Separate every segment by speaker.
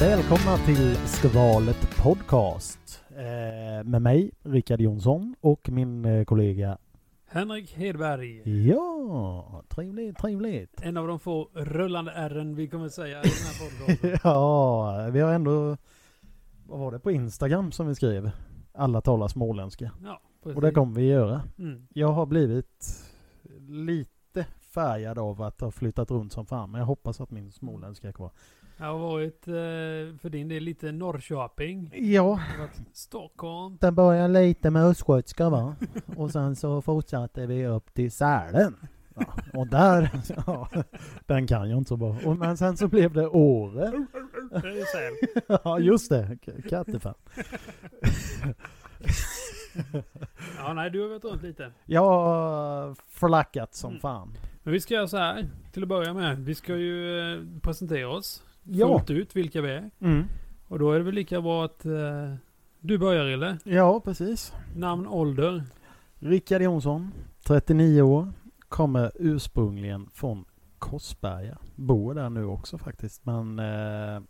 Speaker 1: välkomna till Skvalet Podcast eh, med mig, Rickard Jonsson och min eh, kollega.
Speaker 2: Henrik Hedberg.
Speaker 1: Mm. Ja, trevligt, trevligt.
Speaker 2: En av de få rullande R'n vi kommer säga i den här podcasten.
Speaker 1: Ja, vi har ändå, vad var det på Instagram som vi skrev? Alla talar småländska.
Speaker 2: Ja, precis.
Speaker 1: Och det kommer vi göra.
Speaker 2: Mm.
Speaker 1: Jag har blivit lite färgad av att ha flyttat runt som fan, men jag hoppas att min småländska är kvar.
Speaker 2: Jag har varit, eh, för din del, lite Norrköping.
Speaker 1: Ja,
Speaker 2: Jag har varit Stockholm.
Speaker 1: Den börjar lite med östgötska va? Och sen så fortsatte vi upp till Sälen. Ja, och där, ja, den kan jag inte så bra. Och, men sen så blev det Åre.
Speaker 2: Det är Sälen.
Speaker 1: Ja just det, K- kattefan.
Speaker 2: Ja, nej, du har varit runt lite.
Speaker 1: Jag har flackat
Speaker 2: Mm.
Speaker 1: som fan.
Speaker 2: Men vi ska göra så här, till att börja med. Vi ska ju eh, presentera oss.
Speaker 1: Ja,
Speaker 2: Fullt ut vilka vi är.
Speaker 1: mm.
Speaker 2: Och då är det väl lika bra att eh, du börjar, Rille.
Speaker 1: ja precis.
Speaker 2: Namn, ålder.
Speaker 1: Rickard Jonsson, 39 år. Kommer ursprungligen från Korsberga. Bor där nu också faktiskt. Men eh,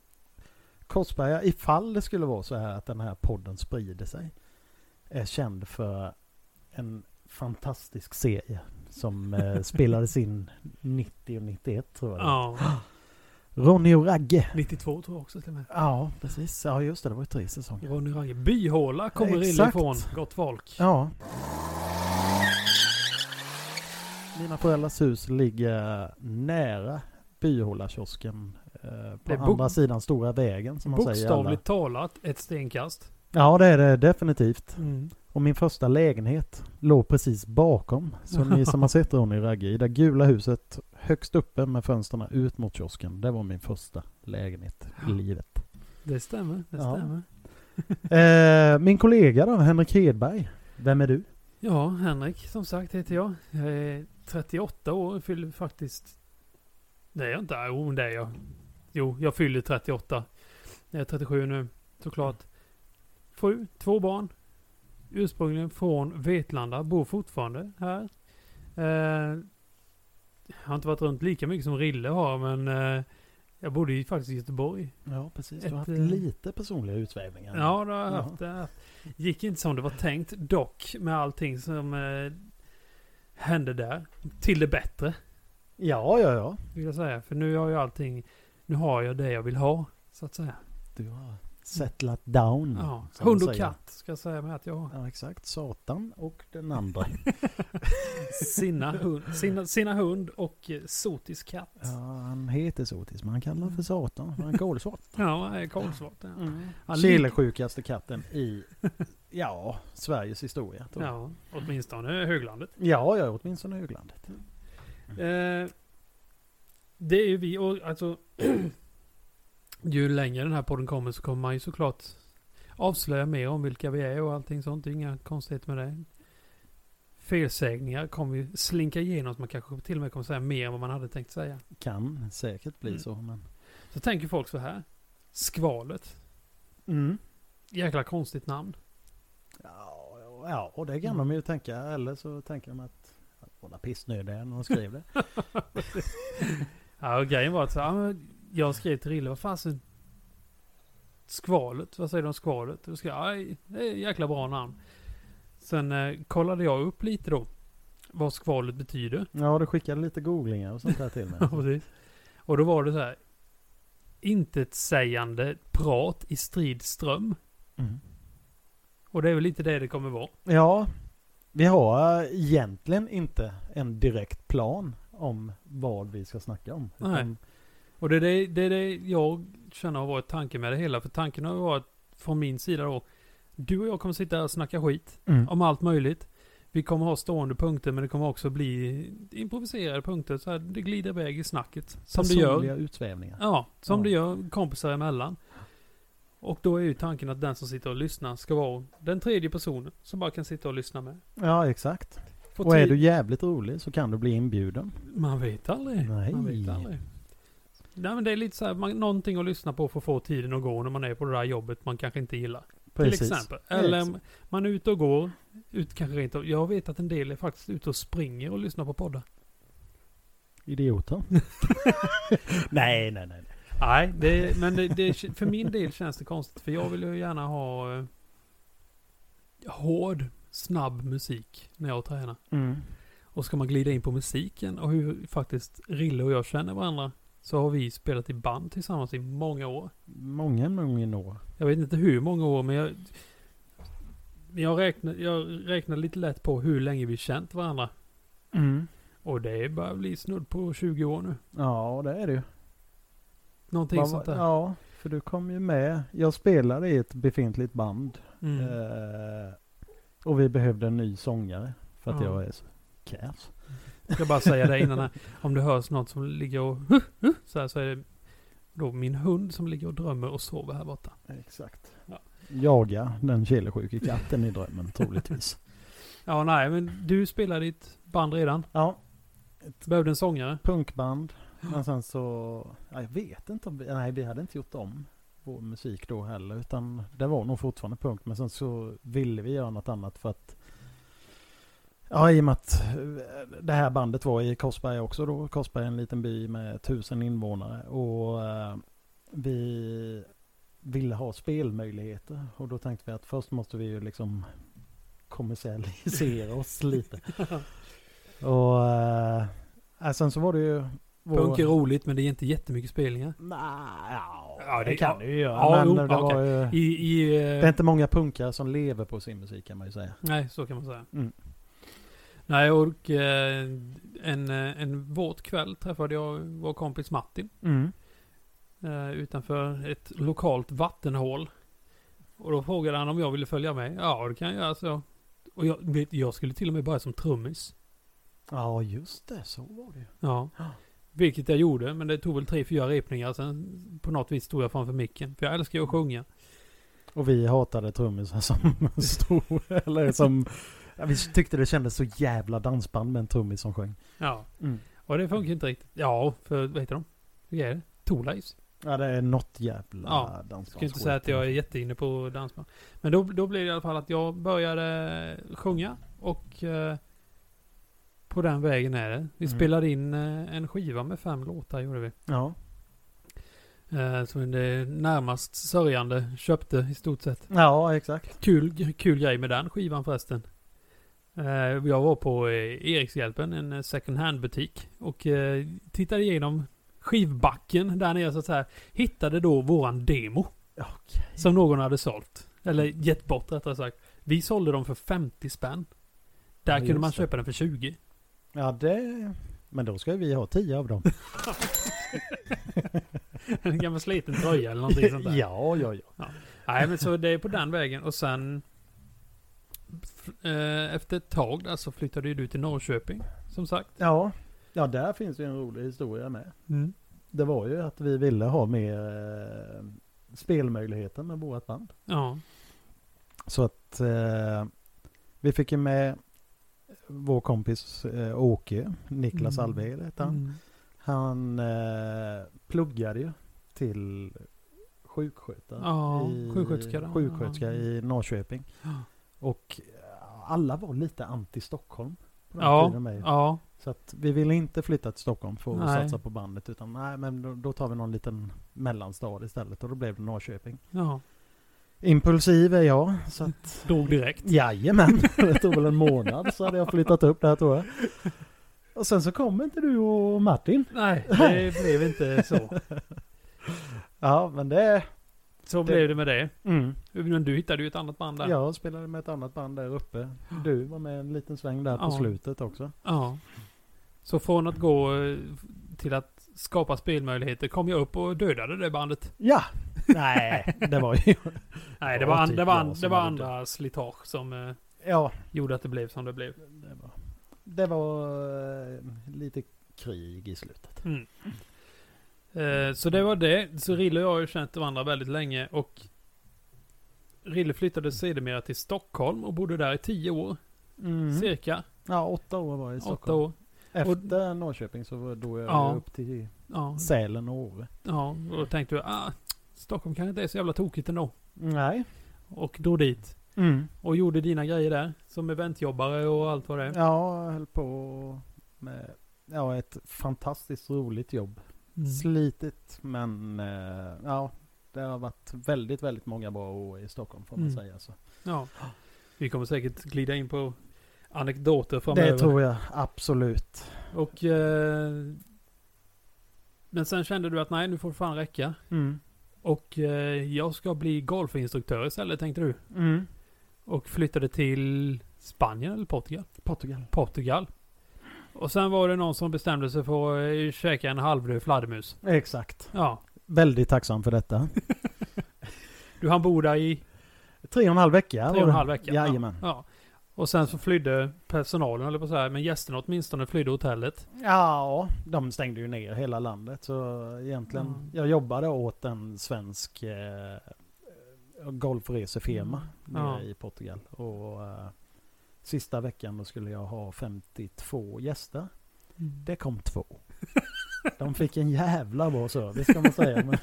Speaker 1: Korsberga, ifall det skulle vara så här att den här podden sprider sig, är känd för en fantastisk serie som eh, spelades in 90 och 91 tror jag. det var.
Speaker 2: Ja,
Speaker 1: Ronny och Ragge.
Speaker 2: 92 tror jag också till och med.
Speaker 1: Ja, precis. Ja, just det. Det var ju tre säsonger.
Speaker 2: Ronny Ragge. Byhåla kommer Rille
Speaker 1: Exakt.
Speaker 2: ifrån. Gott folk.
Speaker 1: Ja. Mina föräldrars hus ligger nära Byhålakiosken. Eh,
Speaker 2: Det
Speaker 1: på
Speaker 2: är bok-
Speaker 1: andra sidan stora vägen som man säger. i Alla.
Speaker 2: Bokstavligt talat ett stenkast.
Speaker 1: Ja det är det definitivt.
Speaker 2: Mm.
Speaker 1: Och min första lägenhet låg precis bakom. Så ni som har sett Ronny Ragge i det gula huset högst uppe med fönstren ut mot kiosken. Det var min första lägenhet i livet.
Speaker 2: Det stämmer, det
Speaker 1: Ja.
Speaker 2: stämmer.
Speaker 1: Eh, min kollega då, Henrik Hedberg. Vem är du?
Speaker 2: Ja, Henrik som sagt heter jag. Jag är 38 år och fyller faktiskt... Nej, jag är inte. Jo, men det är jag. Jo, jag fyller 38. Jag är 37 nu, såklart. Fru, två barn. Ursprungligen från Vetlanda, bor fortfarande här. Eh, jag har inte varit runt lika mycket som Rille har, men eh, jag bodde ju faktiskt i Göteborg
Speaker 1: Ja precis,
Speaker 2: Du har haft
Speaker 1: lite personliga utsvävningar.
Speaker 2: Ja, det har jag
Speaker 1: eh, Ja.
Speaker 2: haft. Det har jag haft. gick inte som det var tänkt dock med allting som eh, hände där. Till det bättre
Speaker 1: Ja, ja, ja.
Speaker 2: vill jag säga. För nu har jag allting. Nu har jag det jag vill ha så att säga.
Speaker 1: Du har settlat down.
Speaker 2: Ja.
Speaker 1: som
Speaker 2: Hund
Speaker 1: man
Speaker 2: och
Speaker 1: säger.
Speaker 2: katt ska jag säga med att jag har.
Speaker 1: Ja, exakt. Satan och den andra.
Speaker 2: Sina hund, sina, sina hund och eh, sotis katt.
Speaker 1: ja, han heter Sotis, men han kallar honom för Satan. Han är kolsvart.
Speaker 2: Ja, det är kolsvart. Ja.
Speaker 1: Mm.
Speaker 2: Han
Speaker 1: Chile
Speaker 2: lik-
Speaker 1: sjukaste katten i, ja, Sveriges historia. tror jag.
Speaker 2: Ja, åtminstone höglandet.
Speaker 1: Ja, ja, åtminstone höglandet.
Speaker 2: Eh, det är ju vi och alltså ju längre den här podden kommer så kommer man ju såklart avslöja mer om vilka vi är och allting sånt. Det är inga konstigheter med det. Felsägningar kommer ju slinka igenom så man kanske till och med kommer säga mer än vad man hade tänkt säga.
Speaker 1: Kan säkert bli
Speaker 2: Mm.
Speaker 1: så, men...
Speaker 2: Så tänker folk så här. Skvalet.
Speaker 1: Mm.
Speaker 2: Jäkla konstigt namn.
Speaker 1: Ja, ja, och det kan de ju tänka. Eller så tänker de att, vad pissnödig jag är när de skrev det.
Speaker 2: Ja, och grejen var att så, ja, men jag skrev till Rille, vad fasen? Skvalet, vad säger du om skvalet? Då skrev jag, "Aj, det är ett jäkla bra namn. Sen eh, kollade jag upp lite då, vad skvalet betyder.
Speaker 1: Ja, du skickade lite googlingar och sånt där till mig.
Speaker 2: Ja, precis. Och då var det så här, intetsägande prat i strid ström.
Speaker 1: Mm.
Speaker 2: Och det är väl lite det det kommer vara.
Speaker 1: Ja, vi har egentligen inte en direkt plan om vad vi ska snacka om.
Speaker 2: Nej.
Speaker 1: Utan-
Speaker 2: Och det är det, det är det jag känner har varit tanken med det hela. För tanken har ju varit från min sida då, du och jag kommer sitta här och snacka skit.
Speaker 1: Mm.
Speaker 2: om allt möjligt. Vi kommer ha stående punkter men det kommer också bli improviserade punkter. Så här, det glider iväg i snacket. Som det
Speaker 1: Personliga
Speaker 2: gör.
Speaker 1: utsvävningar.
Speaker 2: Ja, som
Speaker 1: Ja.
Speaker 2: det gör kompisar emellan. Och då är ju tanken att den som sitter och lyssnar ska vara den tredje personen som bara kan sitta och lyssna med.
Speaker 1: Ja, exakt.
Speaker 2: Få
Speaker 1: Och är
Speaker 2: tid-
Speaker 1: du jävligt rolig så kan du bli inbjuden.
Speaker 2: Man vet aldrig.
Speaker 1: Nej.
Speaker 2: Man vet aldrig. Nej men det är lite så här, man, någonting att lyssna på för att få tiden att gå när man är på det där jobbet man kanske inte gillar. Till exempel. Eller
Speaker 1: Exakt.
Speaker 2: man är ute och går. Ut, kanske rent av. Jag vet att en del är faktiskt ute och springer och lyssnar på poddar.
Speaker 1: Idioter. nej, nej, nej.
Speaker 2: Nej, det, men det, det, för min del känns det konstigt. För jag vill ju gärna ha eh, hård, snabb musik när jag tränar.
Speaker 1: Mm.
Speaker 2: Och ska man glida in på musiken och hur faktiskt Rille och jag känner varandra. Så har vi spelat i band tillsammans i många år.
Speaker 1: Många, många år.
Speaker 2: Jag vet inte hur många år men jag... men Jag räknar, jag räknar lite lätt på hur länge vi känt varandra.
Speaker 1: Mm.
Speaker 2: Och det börjar bli snudd på 20 år nu.
Speaker 1: Ja, det är det ju.
Speaker 2: Någonting
Speaker 1: Vad var-
Speaker 2: sånt där.
Speaker 1: Ja, för du kom ju med. Jag spelade i ett befintligt band.
Speaker 2: Mm.
Speaker 1: Eh, och vi behövde en ny sångare. För att
Speaker 2: Ja.
Speaker 1: jag är så kass.
Speaker 2: Jag ska bara säga det innan här. Om det hörs något som ligger och så här så är det då min hund som ligger och drömmer och sover här borta.
Speaker 1: Exakt.
Speaker 2: Ja.
Speaker 1: Jaga den kelesjuke katten i drömmen troligtvis.
Speaker 2: Ja, nej, men du spelar ditt band redan.
Speaker 1: Ja,
Speaker 2: Behövde en sångare.
Speaker 1: punkband. Men sen så, ja, jag vet inte om vi, nej vi hade inte gjort om vår musik då heller. Utan det var nog fortfarande punk. Men sen så ville vi göra något annat för att Ja, i och med att eh, det här bandet var i Korsberg också då. Korsberg är en liten by med tusen invånare. Och eh, vi ville ha spelmöjligheter. Och då tänkte vi att först måste vi ju liksom kommersialisera oss lite. Och eh, ja, sen så var det ju... vår-
Speaker 2: Punk är roligt, men det är inte jättemycket spelningar.
Speaker 1: Nej, ja,
Speaker 2: Ja,
Speaker 1: det,
Speaker 2: det-
Speaker 1: kan du ju göra.
Speaker 2: ja,
Speaker 1: men
Speaker 2: jo,
Speaker 1: det, var
Speaker 2: okej.
Speaker 1: ju,
Speaker 2: I, i, eh,
Speaker 1: det är inte många punkare som lever på sin musik kan man ju säga.
Speaker 2: Nej, så kan man säga.
Speaker 1: Mm.
Speaker 2: Nej, och eh, en, eh, en våt kväll träffade jag vår kompis Martin eh, utanför ett lokalt vattenhål. Och då frågade han om jag ville följa med. Ja, det kan jag göra, så jag. Och jag, vet, jag skulle till och med börja som trummis.
Speaker 1: Ja, just det. Så var det ju.
Speaker 2: Ja.
Speaker 1: Ja.
Speaker 2: Vilket jag gjorde, men det tog väl tre, fyra repningar. Sen på något vis stod jag framför micken. För jag älskar ju att sjunga.
Speaker 1: Och vi hatade trummisar som stod, eller som... Ja, vi tyckte det kändes så jävla dansband med en trummis som sjöng.
Speaker 2: Ja. Och det funkar inte riktigt. Ja, för vad heter de? Vilka är det? Two Lives.
Speaker 1: Ja, det är något jävla
Speaker 2: Ja,
Speaker 1: dansband.
Speaker 2: Ska inte säga att jag är jätteinne på dansband. Men då, då blev det i alla fall att jag började sjunga och eh, på den vägen är det. Vi
Speaker 1: Mm.
Speaker 2: spelade in eh, en skiva med fem låtar gjorde vi.
Speaker 1: Ja.
Speaker 2: Eh, som det närmast sörjande köpte i stort sett.
Speaker 1: ja, exakt.
Speaker 2: Kul, kul grej med den skivan förresten. Eh, jag var på eh, Erikshjälpen, en eh, second hand butik och eh, tittade igenom skivbacken där nere så att säga. Hittade då våran demo.
Speaker 1: Okej.
Speaker 2: Som någon hade sålt. Eller gett bort rättare sagt. Vi sålde dem för 50 spänn. Där
Speaker 1: Ja,
Speaker 2: kunde man
Speaker 1: just det.
Speaker 2: köpa den för 20.
Speaker 1: Ja, det... Men då ska vi ha tio av dem.
Speaker 2: En gammal sliten tröja eller någonting sånt där.
Speaker 1: ja, ja, ja.
Speaker 2: Nej men så det är på den vägen och sen f- eh, efter ett tag där så flyttade ju du till Norrköping. Som sagt.
Speaker 1: Ja, ja där finns ju en rolig historia med. Det var ju att vi ville ha mer eh, spelmöjligheter med vårt band.
Speaker 2: Ja.
Speaker 1: Så att eh, vi fick ju med vår kompis eh, Åke, Niklas
Speaker 2: Mm.
Speaker 1: Alvhed heter han. Han eh, pluggade ju till sjukskötare.
Speaker 2: Ja,
Speaker 1: i-
Speaker 2: sjuksköterska då.
Speaker 1: Sjuksköterska i Norrköping.
Speaker 2: Ja.
Speaker 1: Och eh, alla var lite anti Stockholm. på den
Speaker 2: Ja,
Speaker 1: tiden med ju.
Speaker 2: Ja.
Speaker 1: Så att vi ville inte flytta till Stockholm för att
Speaker 2: Nej.
Speaker 1: satsa på bandet utan nej men då, då tar vi någon liten mellanstad istället och då blev det Norrköping.
Speaker 2: ja.
Speaker 1: Impulsiv är jag så att
Speaker 2: Drog direkt.
Speaker 1: jajamän, det tog väl en månad så hade jag flyttat upp där tror jag. Och sen så kom inte du och Martin.
Speaker 2: Nej, det blev inte så.
Speaker 1: Ja men det,
Speaker 2: Så
Speaker 1: Det-
Speaker 2: blev det med det.
Speaker 1: mm.
Speaker 2: Men du hittade ju ett annat band där.
Speaker 1: jag spelade med ett annat band där uppe. Du var med en liten sväng där på
Speaker 2: Ja.
Speaker 1: slutet också.
Speaker 2: Ja. Så från att gå eh, till att skapa spelmöjligheter kom jag upp och dödade det bandet.
Speaker 1: Ja, nej det var ju,
Speaker 2: Nej, det
Speaker 1: Ja,
Speaker 2: var, an,
Speaker 1: typ
Speaker 2: det var,
Speaker 1: jag
Speaker 2: an, det
Speaker 1: som
Speaker 2: var
Speaker 1: hade
Speaker 2: andra slitage som eh,
Speaker 1: ja
Speaker 2: gjorde att det blev som det blev.
Speaker 1: Det var, det var eh, lite krig i slutet.
Speaker 2: Eh, så det var det. Så Rille och jag har ju känt varandra väldigt länge och Rille flyttade sedermera till Stockholm och bodde där i tio år. Cirka.
Speaker 1: Ja, åtta år var jag Mm. i
Speaker 2: Åtta
Speaker 1: Stockholm.
Speaker 2: år.
Speaker 1: Efter Norrköping så var då jag
Speaker 2: Ja.
Speaker 1: upp till
Speaker 2: Ja.
Speaker 1: Sälen och Åre.
Speaker 2: ja. Och då tänkte jag, ah, Stockholm kanske inte är så jävla tokigt ändå.
Speaker 1: Nej.
Speaker 2: Och drog dit.
Speaker 1: Mm.
Speaker 2: Och gjorde dina grejer där. Som eventjobbare och allt vad det är.
Speaker 1: Ja, jag höll på med ja, ett fantastiskt roligt jobb
Speaker 2: Mm.
Speaker 1: Slitigt men eh, ja, det har varit väldigt, väldigt många bra år i Stockholm får man
Speaker 2: Mm.
Speaker 1: säga. Så.
Speaker 2: Ja. Vi kommer säkert glida in på anekdoter framöver.
Speaker 1: Det tror jag absolut.
Speaker 2: Och... Eh, men sen kände du att nej, nu får det fan räcka.
Speaker 1: Mm.
Speaker 2: Och eh, jag ska bli golfinstruktör istället, tänkte du.
Speaker 1: Mm.
Speaker 2: Och flyttade till Spanien eller Portugal.
Speaker 1: Portugal.
Speaker 2: Portugal. Och sen var det någon som bestämde sig för att eh, käka en halvdöd fladdermus.
Speaker 1: Exakt.
Speaker 2: Ja.
Speaker 1: Väldigt tacksam för detta.
Speaker 2: Du hann bo där i
Speaker 1: Tre och en halv vecka. var
Speaker 2: tre och
Speaker 1: det.
Speaker 2: en halv vecka.
Speaker 1: Jajamän. Ja,
Speaker 2: Ja. Och sen så flydde personalen, eller på så här, men gästerna åtminstone flydde hotellet.
Speaker 1: ja, de stängde ju ner hela landet. Så egentligen,
Speaker 2: Mm.
Speaker 1: jag jobbade åt en svensk eh, golfresefirma
Speaker 2: Mm. Ja.
Speaker 1: nere i Portugal. Och eh, sista veckan då skulle jag ha 52 gäster. Det kom två. De fick en jävla bra service kan man säga. Men,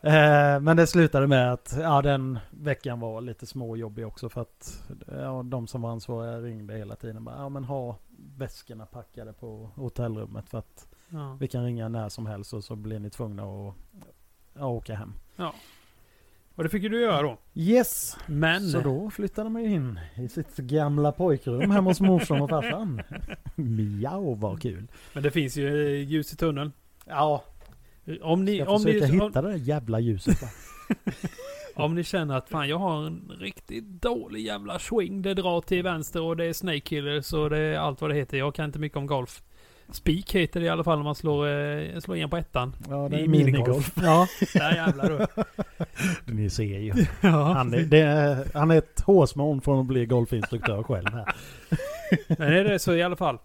Speaker 1: eh, men det slutade med att ja, den veckan var lite småjobbig också för att ja, de som var ansvariga ringde hela tiden. Bara, ja, men ha väskorna packade på hotellrummet för att
Speaker 2: Ja.
Speaker 1: vi kan ringa när som helst och så blir ni tvungna att ja, åka hem.
Speaker 2: Och det fick ju du göra då.
Speaker 1: Yes!
Speaker 2: Men
Speaker 1: Så då flyttade man ju in i sitt gamla pojkrum hemma hos morsan och farsan. Miau vad kul!
Speaker 2: Men det finns ju eh, ljus i tunneln.
Speaker 1: Ja,
Speaker 2: Om ni,
Speaker 1: jag
Speaker 2: om
Speaker 1: försöker
Speaker 2: ni, om,
Speaker 1: hitta det där jävla ljuset. va?
Speaker 2: om ni känner att fan jag har en riktigt dålig jävla swing. Det drar till vänster och det är snake killers och det är allt vad det heter. Jag kan inte mycket om golf. Spik heter det i alla fall om man slår, eh, slår igen på ettan.
Speaker 1: Ja,
Speaker 2: I minigolf.
Speaker 1: Ja,
Speaker 2: Där jävlar du.
Speaker 1: ni ser ju.
Speaker 2: Ja.
Speaker 1: Han är, det är, han är ett hårsmån från att bli golfinstruktör själv här.
Speaker 2: Men är det så i alla fall.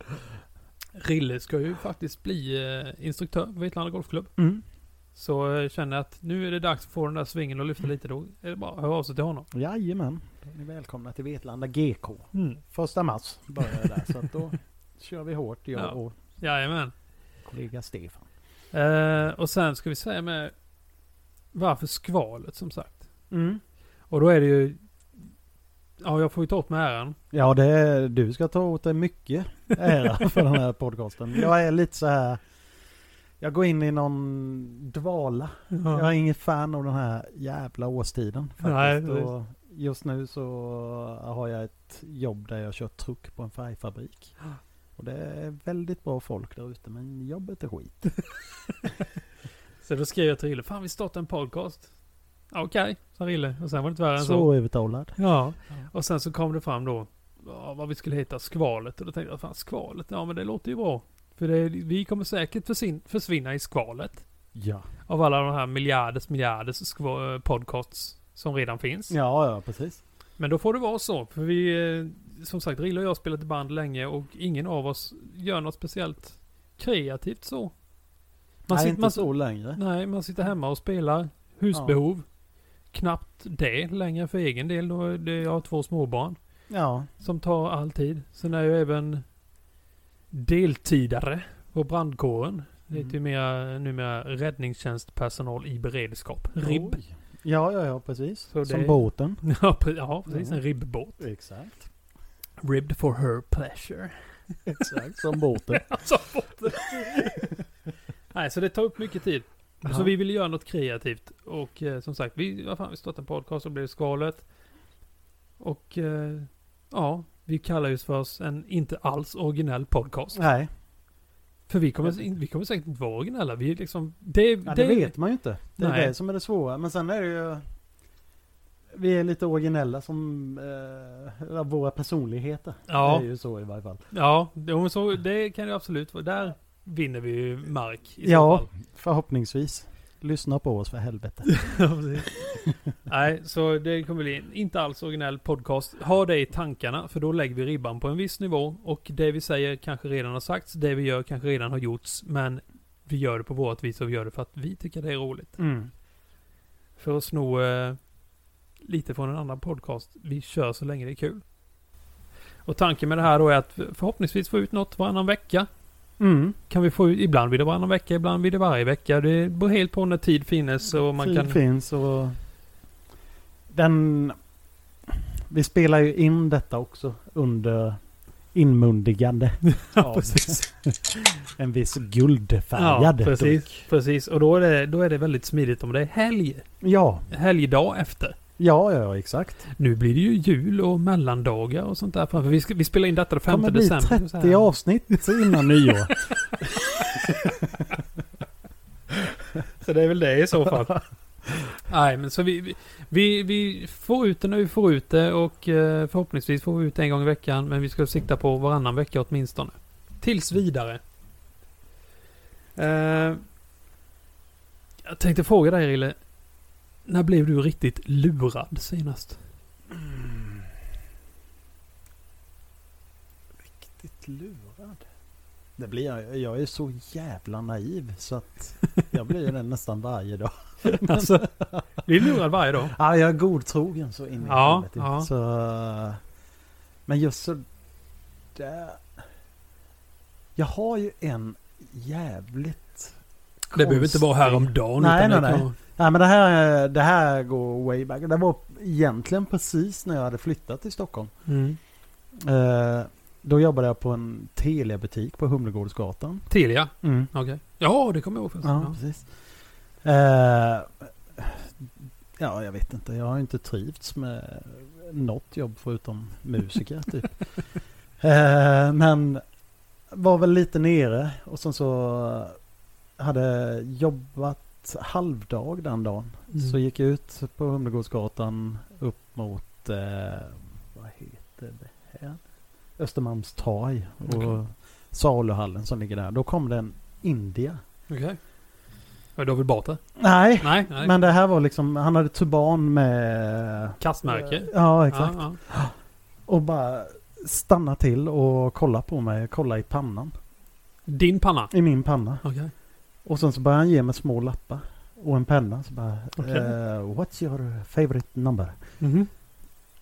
Speaker 2: Rille ska ju faktiskt bli eh, instruktör vid Vetlanda Golfklubb.
Speaker 1: Mm.
Speaker 2: Så eh, känner jag att nu är det dags att få den där svingen och lyfta lite. Då är det bara att höra av sig till honom.
Speaker 1: Jajamän. Ni är välkomna till Vetlanda GK.
Speaker 2: Mm.
Speaker 1: Första mars börjar det där, så att då kör vi hårt, jag
Speaker 2: Ja.
Speaker 1: och
Speaker 2: Jajamän.
Speaker 1: kollega Stefan.
Speaker 2: Eh, och sen ska vi säga med varför skvalet som sagt.
Speaker 1: Mm.
Speaker 2: Och då är det ju... Ja, jag får ju ta åt mig äran.
Speaker 1: Ja, det är, du ska ta åt dig mycket ära för den här podcasten. Jag är lite så här... Jag går in i någon dvala Jag är ingen fan av den här jävla årstiden.
Speaker 2: Nej,
Speaker 1: Faktiskt.
Speaker 2: precis.
Speaker 1: och just nu så har jag ett jobb där jag kör truck på en färgfabrik. Och det är väldigt bra folk där ute men jobbet är skit.
Speaker 2: Så då skrev jag till Rille, fan vi startar en podcast. Ja, Okej, sa Rille. Och sen var det inte värre än så.
Speaker 1: Så övertalad.
Speaker 2: Ja. Och sen så kom det fram då ja, vad vi skulle heta, skvalet. Och då tänkte jag, fan skvalet, ja men det låter ju bra. För det, vi kommer säkert försvin- försvinna i skvalet.
Speaker 1: Ja.
Speaker 2: Av alla de här miljarders miljarders skva- podcasts som redan finns.
Speaker 1: Ja, ja precis.
Speaker 2: Men då får det vara så. För vi, eh, som sagt, Rille och jag har spelat i band länge och ingen av oss gör något speciellt kreativt så. Man,
Speaker 1: Nej,
Speaker 2: sitter,
Speaker 1: inte
Speaker 2: man, Mm.
Speaker 1: så längre.
Speaker 2: nej, man sitter hemma och spelar husbehov. Knappt det längre för egen del. Då är det, jag har två småbarn
Speaker 1: Ja.
Speaker 2: som tar all tid. Sen är jag även deltidare på brandkåren. Det är
Speaker 1: Mm.
Speaker 2: ju mer, numera räddningstjänstpersonal i beredskap. RIB.
Speaker 1: Oj. Ja, ja, ja precis.
Speaker 2: Så
Speaker 1: Som
Speaker 2: det-
Speaker 1: båten.
Speaker 2: Ja, pre- ja, precis. En
Speaker 1: Mm.
Speaker 2: ribbåt.
Speaker 1: Exakt.
Speaker 2: Ribbed for her pleasure.
Speaker 1: Exakt. Som båten.
Speaker 2: Alltså, botten. Nej, så det tar upp mycket tid. Så vi ville göra något kreativt. Och eh, som sagt, vi, vad fan, vi startade en podcast och blev skalet. Och eh, ja, vi kallar just för oss en inte alls originell podcast.
Speaker 1: Nej,
Speaker 2: För vi kommer, in- vi kommer säkert inte vara originella. Vi är liksom, det,
Speaker 1: ja, det, vet man ju inte. Det är
Speaker 2: Nej.
Speaker 1: det som är det svåra. Men sen är det ju... Vi är lite originella som eh, av våra personligheter.
Speaker 2: Ja,
Speaker 1: Det är ju så i varje fall.
Speaker 2: ja jo, men så, det kan det absolut vara. Där vinner vi ju mark i så
Speaker 1: Ja.
Speaker 2: fall.
Speaker 1: Förhoppningsvis. Lyssna på oss för helvete.
Speaker 2: Ja, precis. Nej, så det kommer bli en inte alls originell podcast. Ha det i tankarna, för då lägger vi ribban på en viss nivå. Och det vi säger kanske redan har sagts, det vi gör kanske redan har gjorts. Men vi gör det på vårt vis och vi gör det för att vi tycker det är roligt. För att sno eh, lite från en annan podcast. Vi kör så länge det är kul. Och tanken med det här då är att förhoppningsvis få ut något varannan vecka.
Speaker 1: Mm.
Speaker 2: Kan vi få ut, ibland blir det varannan vecka, ibland blir det varje vecka. Det beror helt på när tid finnes och man
Speaker 1: Tid
Speaker 2: kan...
Speaker 1: finns och... Den... Vi spelar ju in detta också under inmundigande
Speaker 2: Ja, precis.
Speaker 1: en viss
Speaker 2: Ja,
Speaker 1: guldfärgad dryck.
Speaker 2: precis. precis. Och då är, det, då är det väldigt smidigt om det är helg.
Speaker 1: Ja,
Speaker 2: Helgdag efter.
Speaker 1: ja, ja, exakt.
Speaker 2: Nu blir det ju jul och mellandagar och sånt där framför. Vi, ska, vi spelar in detta den
Speaker 1: Det
Speaker 2: 5
Speaker 1: kommer bli
Speaker 2: december. så
Speaker 1: 30
Speaker 2: här.
Speaker 1: avsnitt innan nyår.
Speaker 2: Så det är väl det i så fall. Nej, men så vi- vi, vi, vi får ut det när vi får ut det och eh, förhoppningsvis får vi ut det en gång i veckan. Men vi ska sikta på varannan vecka åtminstone. Tills vidare. Eh, jag tänkte fråga dig Rille. När blev du riktigt lurad senast?
Speaker 1: Riktigt lurad. Det blir jag. Jag är så jävla naiv så att jag blir det nästan varje dag.
Speaker 2: Alltså, blir du lurad varje dag?
Speaker 1: Ja, jag är godtrogen så in i
Speaker 2: Ja,
Speaker 1: helvete.
Speaker 2: ja.
Speaker 1: Så, men just så där. Jag har ju en jävligt...
Speaker 2: Det behöver inte vara häromdagen.
Speaker 1: Nej,
Speaker 2: utan
Speaker 1: nej,
Speaker 2: det
Speaker 1: nej. Nej, men det här, det här går way back. Det var egentligen precis när jag hade flyttat till Stockholm.
Speaker 2: Kan... Mm.
Speaker 1: Eh, då jobbade jag på en Telia-butik på Humlegårdsgatan.
Speaker 2: Telia? Okej. Ja, det kommer jag ihåg. förresten.
Speaker 1: Ja,
Speaker 2: Ja.
Speaker 1: precis. Eh, ja, jag vet inte. Jag har inte trivts med något jobb förutom musiker typ. Eh, men var väl lite nere och sen så hade jobbat halvdag den dagen.
Speaker 2: Mm.
Speaker 1: Så gick jag ut på Humlegårdsgatan upp mot, eh, vad heter det här? Östermalmstorg och
Speaker 2: Okej.
Speaker 1: saluhallen som ligger där. Då kom det en India.
Speaker 2: Okej. Okay. David Batra?
Speaker 1: Nej,
Speaker 2: Nej, nej.
Speaker 1: men det här var liksom, han hade turban med...
Speaker 2: Kastmärke?
Speaker 1: Ja, exakt.
Speaker 2: Ja,
Speaker 1: Och bara stanna till och kolla på mig, kolla i pannan.
Speaker 2: ja. Din panna?
Speaker 1: I min panna.
Speaker 2: Okej.
Speaker 1: Och sen så började han ge mig små lappar. Och en penna. Så bara,
Speaker 2: Okej.
Speaker 1: eh, what's your favorite number? Mhm.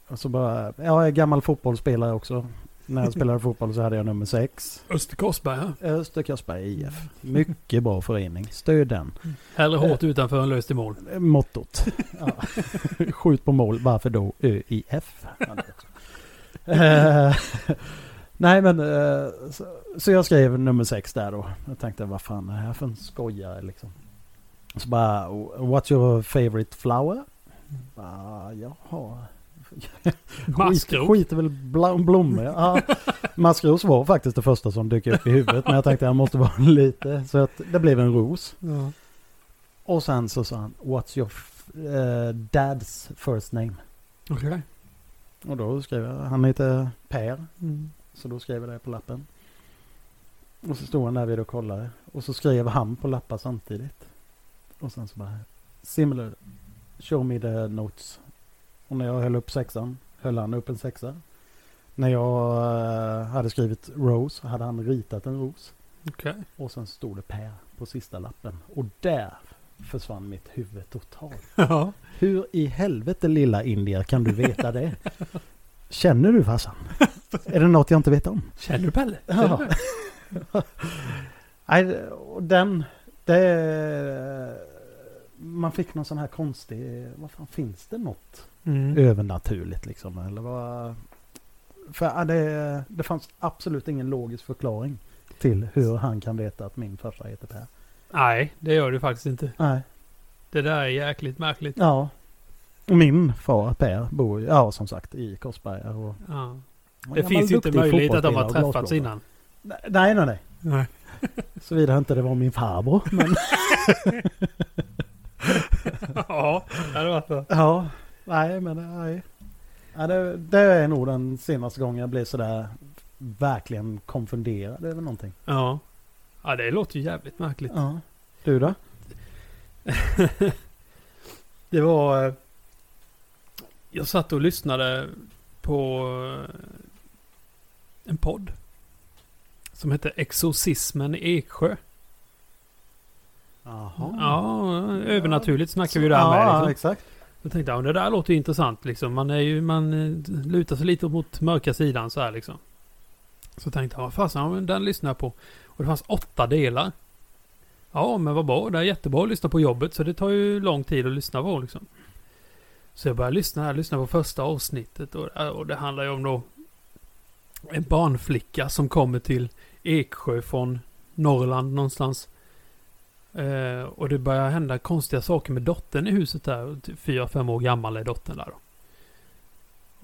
Speaker 1: Och så bara, ja, jag är gammal fotbollsspelare också. När jag spelade fotboll så hade jag nummer sex.
Speaker 2: Öster Korsberga?
Speaker 1: Öster Korsberg IF. Mycket bra förening. Stöd den.
Speaker 2: Hellre hårt utanför än löst i mål.
Speaker 1: Eh, Mottot. Ja. Skjut på mål, varför då ÖIF? Eh, Nej men, eh, så, så jag skrev nummer sex där då. Jag tänkte vad fan är det här för en skojare liksom. Så bara, what's your favorite flower? Bara, jaha. Skit,
Speaker 2: Maskrok?
Speaker 1: skiter väl bland blommor. Ja, maskros var faktiskt det första som dök upp i huvudet. Men jag tänkte jag måste vara lite. Så att det blev en ros.
Speaker 2: Ja.
Speaker 1: Och sen så sa han What's your f- eh, dad's first name?
Speaker 2: Okej.
Speaker 1: Och då skrev jag, han heter Per. Så då skrev jag det på lappen. Och så stod han där vid och kollade. Och så skrev han på lappar samtidigt. Och sen så bara Similar, show me the notes. Och när jag höll upp sexan höll han upp en sexa. När jag eh, hade skrivit Rose hade han ritat en ros.
Speaker 2: Okej.
Speaker 1: Och sen stod det Per på sista lappen. Och där försvann mitt huvud totalt.
Speaker 2: Ja.
Speaker 1: Hur i helvete lilla India kan du veta det? Känner du farsan? Är det något jag inte vet om?
Speaker 2: Känner du Pelle?
Speaker 1: Ja.
Speaker 2: Känner du Pelle?
Speaker 1: Nej, det- och den... Det, man fick någon sån här konstig... Vad fan, finns det något
Speaker 2: Mm.
Speaker 1: övernaturligt liksom? Eller vad... För ja, det, det fanns absolut ingen logisk förklaring till hur han kan veta att min farsa heter Per.
Speaker 2: Nej, det gör du faktiskt inte.
Speaker 1: Nej,
Speaker 2: Det där är jäkligt märkligt.
Speaker 1: ja. Och Min far Per bor ju, ja som sagt, i Korsberga. Och,
Speaker 2: Ja.
Speaker 1: och
Speaker 2: Det
Speaker 1: gammal
Speaker 2: finns ju inte
Speaker 1: duktig
Speaker 2: möjlighet att de
Speaker 1: fotbollsspelare
Speaker 2: har
Speaker 1: och
Speaker 2: träffats
Speaker 1: glasblåsare.
Speaker 2: innan.
Speaker 1: Nej, nej, nej.
Speaker 2: Nej.
Speaker 1: Såvida inte det var min farbror. Men,
Speaker 2: Ja, det hade varit bra.
Speaker 1: ja, nej, men nej. Ja, det, det är nog den senaste gången jag blev sådär verkligen konfunderad över någonting.
Speaker 2: Ja. Ja, det låter ju jävligt märkligt.
Speaker 1: Ja. Du då?
Speaker 2: Det var... eh, Jag satt och lyssnade på eh, en podd. Som hette Exorcismen i Eksjö.
Speaker 1: Jaha.
Speaker 2: Ja, övernaturligt snackar vi ju där med.
Speaker 1: Ja,
Speaker 2: Liksom.
Speaker 1: exakt.
Speaker 2: Jag tänkte, ja, det där låter ju intressant liksom. Man, är ju, man eh, lutar sig lite mot mörka sidan så här liksom. Så tänkte jag, vad fasen, ja, men den lyssnar jag på. Och det fanns åtta delar. Ja, men vad bra. Det är jättebra att lyssna på jobbet. Så det tar ju lång tid att lyssna på liksom. Så jag började lyssna här, lyssna på första avsnittet. Och, och det handlar ju om då en barnflicka som kommer till Eksjö från Norrland någonstans. Eh, och det börjar hända konstiga saker med dottern i huset där. Typ Fyra, fem år gammal är dottern där då.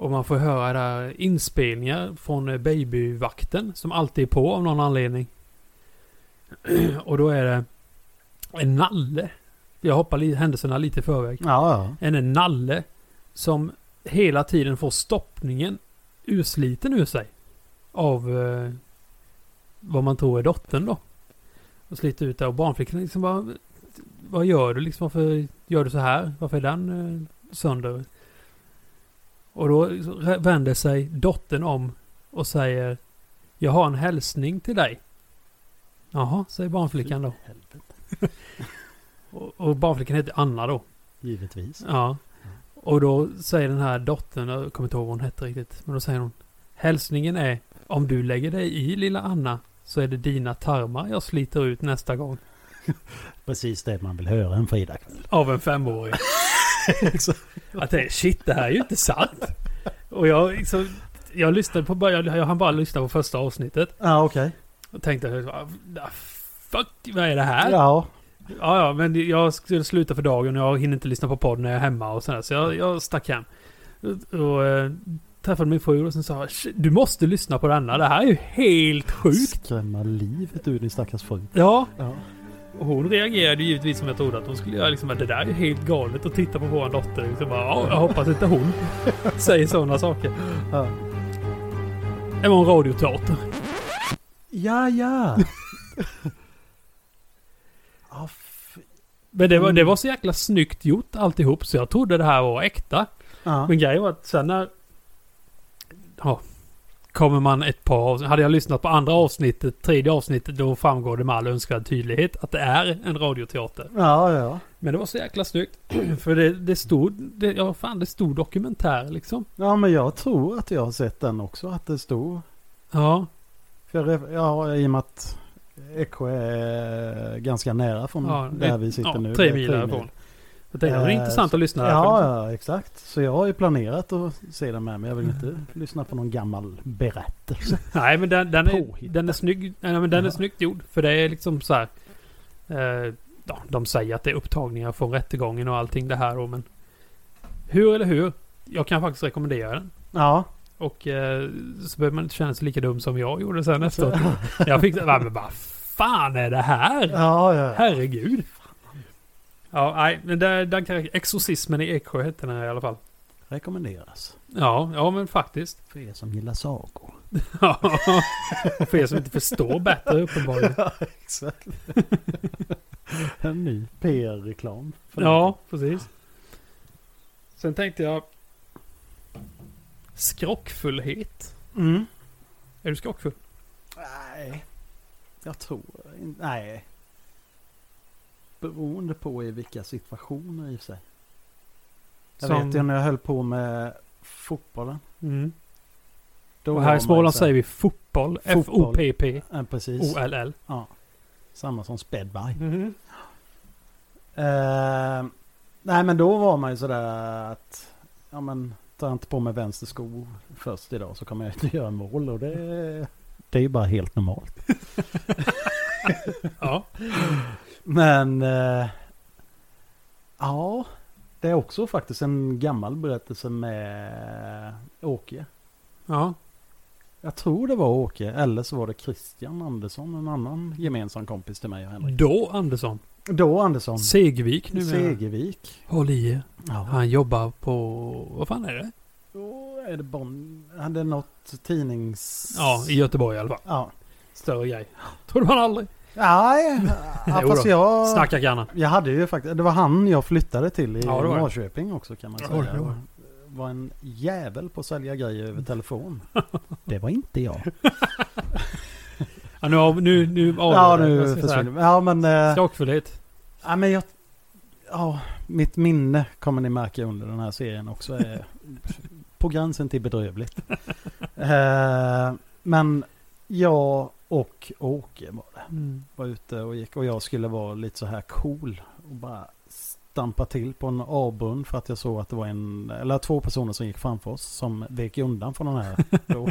Speaker 2: Och man får höra där inspelningar från eh, babyvakten som alltid är på av någon anledning. och då är det en nalle. Jag hoppar li- händelserna lite i förväg
Speaker 1: Ja,
Speaker 2: än en nalle som hela tiden får stoppningen ursliten ur sig. Av eh, vad man tror är dottern då. Och sliter ut det och barnflickan liksom bara, Vad gör du liksom? Varför gör du så här? Varför är den eh, sönder? Och då liksom vänder sig dottern om och säger Jag har en hälsning till dig. Jaha, säger barnflickan då.
Speaker 1: Helvete.
Speaker 2: Och, och barnflickan heter Anna då.
Speaker 1: Givetvis.
Speaker 2: Ja. Och då säger den här dottern, jag kommer inte ihåg vad hon hette riktigt, men då säger hon Hälsningen är om du lägger dig i lilla Anna så är det dina tarmar jag sliter ut nästa gång.
Speaker 1: Precis det man vill höra en fredagkväll.
Speaker 2: Av en femåring.
Speaker 1: Exakt.
Speaker 2: Att det är shit, det här är ju inte sant. Och jag liksom, jag lyssnade på början, jag hann bara lyssna på första avsnittet.
Speaker 1: Ja, okej.
Speaker 2: Och tänkte, "Ah, fuck, vad är det här?
Speaker 1: Ja.
Speaker 2: Ja, ja, men jag skulle sluta för dagen och jag hinner inte lyssna på podd när jag är hemma och sådär. Så jag, jag stack hem. Och, och eh, träffade min fru och sen sa "Sh- du måste lyssna på denna. Det här är ju helt sjukt.
Speaker 1: Skrämma livet ur din stackars fru.
Speaker 2: Ja,
Speaker 1: Ja.
Speaker 2: och hon reagerade ju givetvis som jag trodde att hon skulle göra. Liksom, att det där är ju helt galet att titta på vår dotter. Liksom, bara, "Ja, jag hoppas inte hon säger sådana saker.
Speaker 1: Ja.
Speaker 2: Det var en radioteater.
Speaker 1: Ja, ja. Ja, f-
Speaker 2: Men det var, det var så jäkla snyggt gjort alltihop så jag trodde det här var äkta.
Speaker 1: ja.
Speaker 2: Men grejen var att sen när... Ja. Kommer man ett par avsnitt. Hade jag lyssnat på andra avsnittet, tredje avsnittet, då framgår det med all önskvärd tydlighet att det är en radioteater.
Speaker 1: ja, ja.
Speaker 2: Men det var så jäkla snyggt. För det, det stod... Det, ja, fan, det stod dokumentär liksom.
Speaker 1: Ja, men jag tror att jag har sett den också, att det stod.
Speaker 2: Ja.
Speaker 1: För jag, ref- ja, i och med att Eksjö är eh, ganska nära från
Speaker 2: Ja,
Speaker 1: där
Speaker 2: ett-
Speaker 1: vi sitter
Speaker 2: ja
Speaker 1: nu. Det
Speaker 2: tre
Speaker 1: är
Speaker 2: mil därifrån. Jag tänkte, det är
Speaker 1: Eh,
Speaker 2: intressant att lyssna.
Speaker 1: Ja,
Speaker 2: därför.
Speaker 1: ja, exakt. Så jag har ju planerat att se den med, men jag vill inte lyssna på någon gammal berättelse.
Speaker 2: Nej, men den, den, är,
Speaker 1: Påhittad.
Speaker 2: den är snygg. Nej, men den är
Speaker 1: Ja.
Speaker 2: snyggt gjord. För det är liksom så här. Eh, ja, de säger att det är upptagningar från rättegången och allting det här då, men. Hur eller hur? Jag kan faktiskt rekommendera den.
Speaker 1: Ja,
Speaker 2: Och eh, så behöver man inte känna sig lika dum som jag gjorde sen efteråt.
Speaker 1: Alltså.
Speaker 2: Jag fick nej, men vad fan är det här?
Speaker 1: ja, ja.
Speaker 2: Herregud. Ja, nej, men där, den kan, Exorcismen i Eksjö hette den här i alla fall.
Speaker 1: Rekommenderas.
Speaker 2: Ja, ja men faktiskt.
Speaker 1: För er som gillar sagor.
Speaker 2: Ja. För er som inte förstår bättre uppenbarligen.
Speaker 1: Exakt. en ny PR-reklam. för någonting.
Speaker 2: Ja, precis. Sen tänkte jag... Skrockfullhet.
Speaker 1: Mm.
Speaker 2: Är du skrockfull?
Speaker 1: Nej, jag tror inte. Nej. Beroende på i vilka situationer i och för sig. Jag
Speaker 2: Som-
Speaker 1: vet ju när jag höll på med fotbollen.
Speaker 2: Mm.
Speaker 1: Då
Speaker 2: Och
Speaker 1: var
Speaker 2: här
Speaker 1: man
Speaker 2: i
Speaker 1: ju
Speaker 2: Småland
Speaker 1: så här-
Speaker 2: säger vi Oh, äh. fotboll.
Speaker 1: Fotboll.
Speaker 2: F-O-P-P-O-L-L.
Speaker 1: Ja, precis.
Speaker 2: -L.
Speaker 1: Ja. Samma som spädbaj.
Speaker 2: Mm.
Speaker 1: Eh, nej men då var man ju sådär att ja men tar jag inte på mig vänster sko först idag så kommer jag inte göra mål och det, det är ju bara helt normalt.
Speaker 2: Ja.
Speaker 1: Men eh, ja, det är också faktiskt en gammal berättelse med Åke.
Speaker 2: ja.
Speaker 1: Jag tror det var Åke eller så var det Christian Andersson, en annan gemensam kompis till mig och Henrik.
Speaker 2: Då Andersson.
Speaker 1: Då Andersson,
Speaker 2: Segvik nu
Speaker 1: Segervik.
Speaker 2: Håll i er.
Speaker 1: Ja.
Speaker 2: Han jobbar på... Vad fan är det?
Speaker 1: Då är det Bonn. Hade något tidnings...
Speaker 2: Ja, i Göteborg i alla fall.
Speaker 1: Ja.
Speaker 2: Större grej. Trodde man aldrig.
Speaker 1: Nej, ja,
Speaker 2: Jo
Speaker 1: fast
Speaker 2: då.
Speaker 1: jag...
Speaker 2: Snacka grannar.
Speaker 1: Jag hade ju faktiskt... Det var han jag flyttade till i
Speaker 2: Ja, det var det.
Speaker 1: Norrköping också kan man
Speaker 2: Ja,
Speaker 1: säga.
Speaker 2: det var det.
Speaker 1: var en jävel på att sälja grejer över telefon. Det var inte jag.
Speaker 2: Ja, nu... har- Nu... nu
Speaker 1: ja,
Speaker 2: avgör det. Vad
Speaker 1: nu
Speaker 2: ska jag säga?
Speaker 1: försvinner Ja, men... Eh,
Speaker 2: Skrockfullhet.
Speaker 1: ja, men jag... Ja, mitt minne kommer ni märka under den här serien också är på gränsen till bedrövligt. Eh, men jag och Mm. Åke var det. var ute och gick och jag skulle vara lite så här cool och bara stampa till på en avgrund för att jag såg att det var en, eller två personer som gick framför oss som vek undan från den här. Då